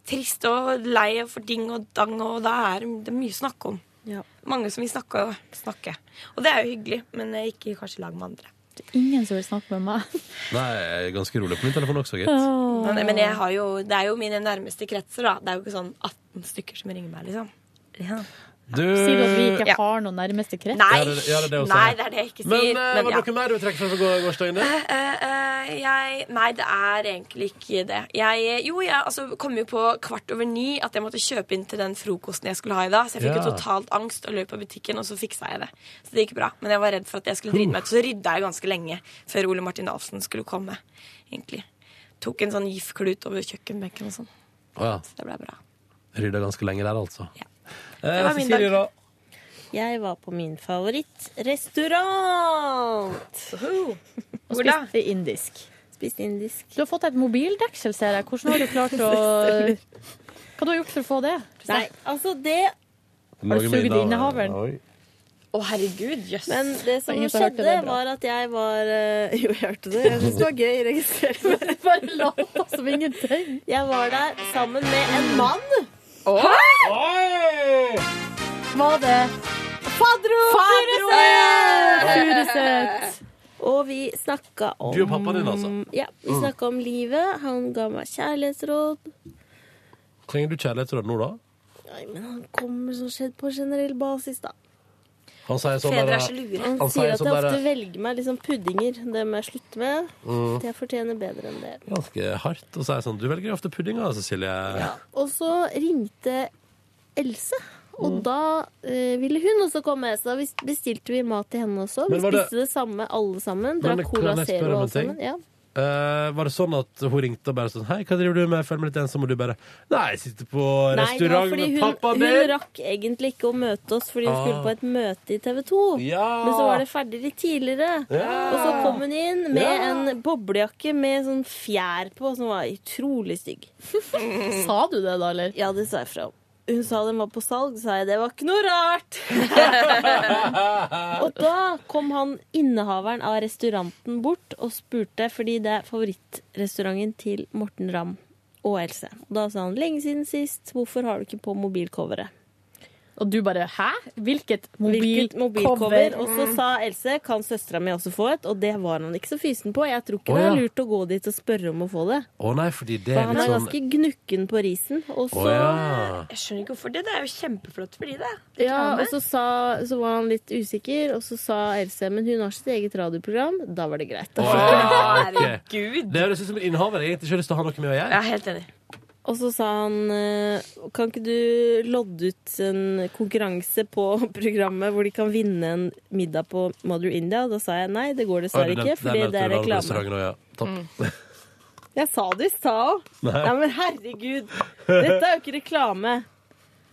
trist og lei og for ding og dang, og da er det er mye å snakke om. Mange som vil snakke og snakke. Og det er jo hyggelig, men jeg ikke kanskje i lag med andre. Ingen som vil snakke med meg. Nei, jeg er ganske rolig på min telefon også, gitt. Men, men jeg har jo, det er jo mine nærmeste kretser, da. Det er jo ikke sånn 18 stykker som ringer meg, liksom. Ja. Du Sier du at vi ikke Ja. har noen nærmeste krets? Nei! Ja, det- ja, det er det hun Nei, sier. det er det jeg ikke Men, sier. eh, var det noe mer du vil trekke frem fra går- gårsdagen din? Eh, eh, eh, jeg Nei, det er egentlig ikke det. Jeg, jo, jeg altså, kom jo på kvart over ni at jeg måtte kjøpe inn til den frokosten jeg skulle ha i dag. Så jeg fikk Ja. jo totalt angst og løp på butikken, og så fiksa jeg det. Så det gikk bra. Men jeg var redd for at jeg skulle drite meg ut, så rydda jeg ganske lenge før Ole Martin Alfsen skulle komme. Egentlig. Tok en sånn giftklut over kjøkkenbenken og sånn. Å ja. Det ble bra. Rydda ganske lenge der, altså. Det var min Cecilie, dag. da? Jeg var på min favorittrestaurant. Og spiste indisk. Spiste indisk. Du har fått et mobildeksel, ser jeg. Hvordan har du klart å Stemmer. Hva du har du gjort for å få det? Nei, altså det Har du sugd innehaveren? Å, herregud, jøss. Men det som Ingen som hørte det skjedde, bra. var at jeg var eh, Jo, jeg hørte det. Jeg syntes det var gøy. Registrerte meg. Bare lata som ingenting. Jeg var der sammen med en mann. Var det Fadro Fadro! Furuseth! Og vi snakka om Du og pappaen din, altså. Ja, vi Mm. snakka om livet. Han ga meg kjærlighetsråd. Trenger du kjærlighetsråd nå, da? Nei, men han kommer som skjedd på generell basis, da. Han sier sånn der- Han, Han sier sier at sånn jeg ofte der velger meg liksom puddinger. Det må jeg slutte med. Mm. Jeg fortjener bedre enn det. Ganske hardt å si sånn. Du velger jo ofte puddinger, Cecilie. Og så ringte Else, Mm. og da eh, ville hun også komme. Så da vis- bestilte vi mat til henne også. Vi Men var det- spiste det samme alle sammen. Men Drakk kan Cola jeg spørre Zero om en alle ting? sammen. Ja. Eh, var det sånn at hun ringte og bare sånn Hei, hva driver du med? Jeg føler meg litt ensom. Og du bare Nei, jeg sitter på Nei, det var restaurant fordi med hun, pappa hun min! rakk egentlig ikke å møte oss fordi hun Ah. skulle på et møte i TV 2. Ja. Men så var det ferdig litt tidligere. Ja. Og så kom hun inn med Ja. en boblejakke med sånn fjær på som var utrolig stygg. Sa du det da, eller? Ja, det sa jeg fra om. Hun sa den var på salg, sa jeg det var ikke noe rart. og da kom han innehaveren av restauranten bort og spurte, fordi det er favorittrestauranten til Morten Ramm og Else. Og da sa han lenge siden sist, hvorfor har du ikke på mobilcoveret? Og du bare hæ? Hvilket Hvilket mobilcover? mobilcover? Og så sa Else kan søstera mi også få et, og det var han ikke så fysen på. Jeg tror Å, ikke det ja. er lurt å gå dit og spørre om å få det. Å nei, fordi det For er han litt er sånn ganske gnukken på risen. Og så Å ja. Jeg skjønner ikke hvorfor det. Det er jo kjempeflott for de, det. Ja, og så, sa, så var han litt usikker, og så sa Else men hun har sitt eget radioprogram. Da var det Å, greit. ja, Ah, ok. Herregud. Det høres ut som en innehaver. Jeg har egentlig ikke lyst til å ha noe med å gjøre. helt enig. Og så sa han eh, kan ikke du lodde ut en konkurranse på programmet hvor de kan vinne en middag på Mother India? Og da sa jeg nei, det går dessverre ikke, fordi det er reklame. Mm. Jeg sa det i stad òg. Nei. Nei, men herregud. Dette er jo ikke reklame.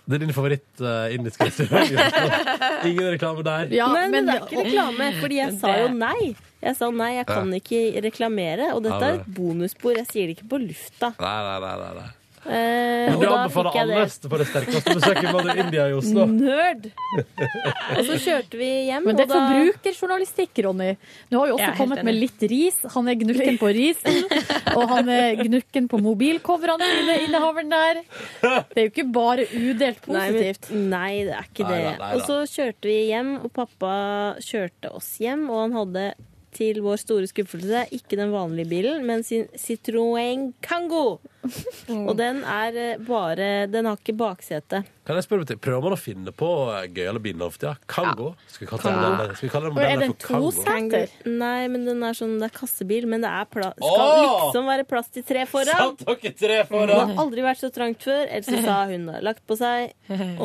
Det er din favoritt-indiske restaurant. Ingen reklame der. nei, men, det er ikke reklame, fordi jeg sa jo nei. Jeg sa nei, jeg kan Ja. ikke reklamere. Og dette Ja, er det- et bonusbord. Jeg sier det ikke på lufta. Nei, nei, nei, nei, nei. Eh, Men og du da anbefaler fikk jeg alle på det sterkeste besøket i Mother India i Oslo. Nerd! Og så kjørte vi hjem, Men det er og da forbrukerjournalistikk, Ronny. Du har jo Jeg også er helt kommet med enig. litt ris. Han er gnukken på risen, og han er gnukken på mobilcoverne sine, innehaveren der. Det er jo ikke bare udelt positivt. Nei, men, nei, det er ikke Nei det. da, nei da. Og så kjørte vi hjem, og pappa kjørte oss hjem, og han hadde til vår store skuffelse ikke den vanlige bilen, men sin Citroën Kango. Og den er eh, bare Den har ikke baksete. Kan jeg spørre om en ting? Prøver man å finne på eh, gøyale bilnavn for tida? Kango? Skal vi kalle Kango. den, skal vi kalle den modellen for Kango? Nei, men den er sånn Det er kassebil, men det er pla skal Åh! liksom være plass til tre foran. Satt dere tre Det har foran? aldri vært så trangt før. Else sa hun har lagt på seg,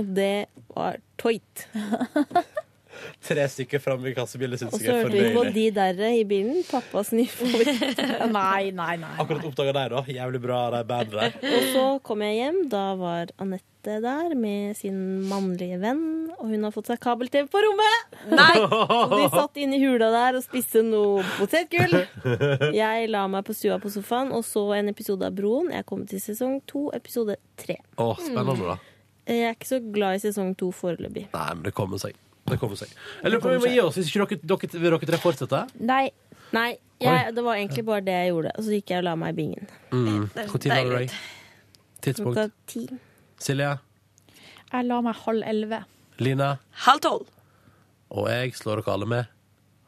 og det var toit. Tre stykker framme i kassebildet Og syns så jeg er hørte vi på fornøyelig. De derre i bilen. Pappas nye favoritt. Nei, nei, nei. Akkurat oppdaga deg, da. Jævlig bra, de bandene der. Og så kom jeg hjem. Da var Anette der med sin mannlige venn, og hun har fått seg kabel-TV på rommet! Nei! Og de satt inne i hula der og spiste noe potetgull. Jeg la meg på stua på sofaen og så en episode av Broen. Jeg kom til sesong to, episode tre. Å, spennende, da. Jeg er ikke så glad i sesong to foreløpig. Nei, men det kommer seg. Det kommer seg. Jeg lurer på om vi må gi oss hvis ikke dere, dere, vil dere tre fortsette. Nei. Oi. jeg, det var egentlig bare det jeg gjorde. Og så gikk jeg og la meg i bingen. Mm. Det er Hvor tid var det? deilig. Ray? Tidspunkt. Klokka ti. Silje? Jeg la meg halv elleve. Line? Halv tolv. Og jeg slår dere alle med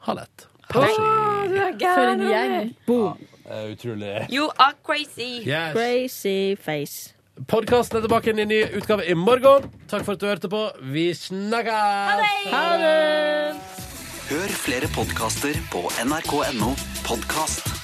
halv ett. For en gjeng. Det er Utrolig. You are crazy. Yes. Crazy face. Podkasten er tilbake i en ny utgave i morgen. Takk for at du hørte på. Vi snakkes! Ha det! Hør flere podkaster på nrk.no podkast.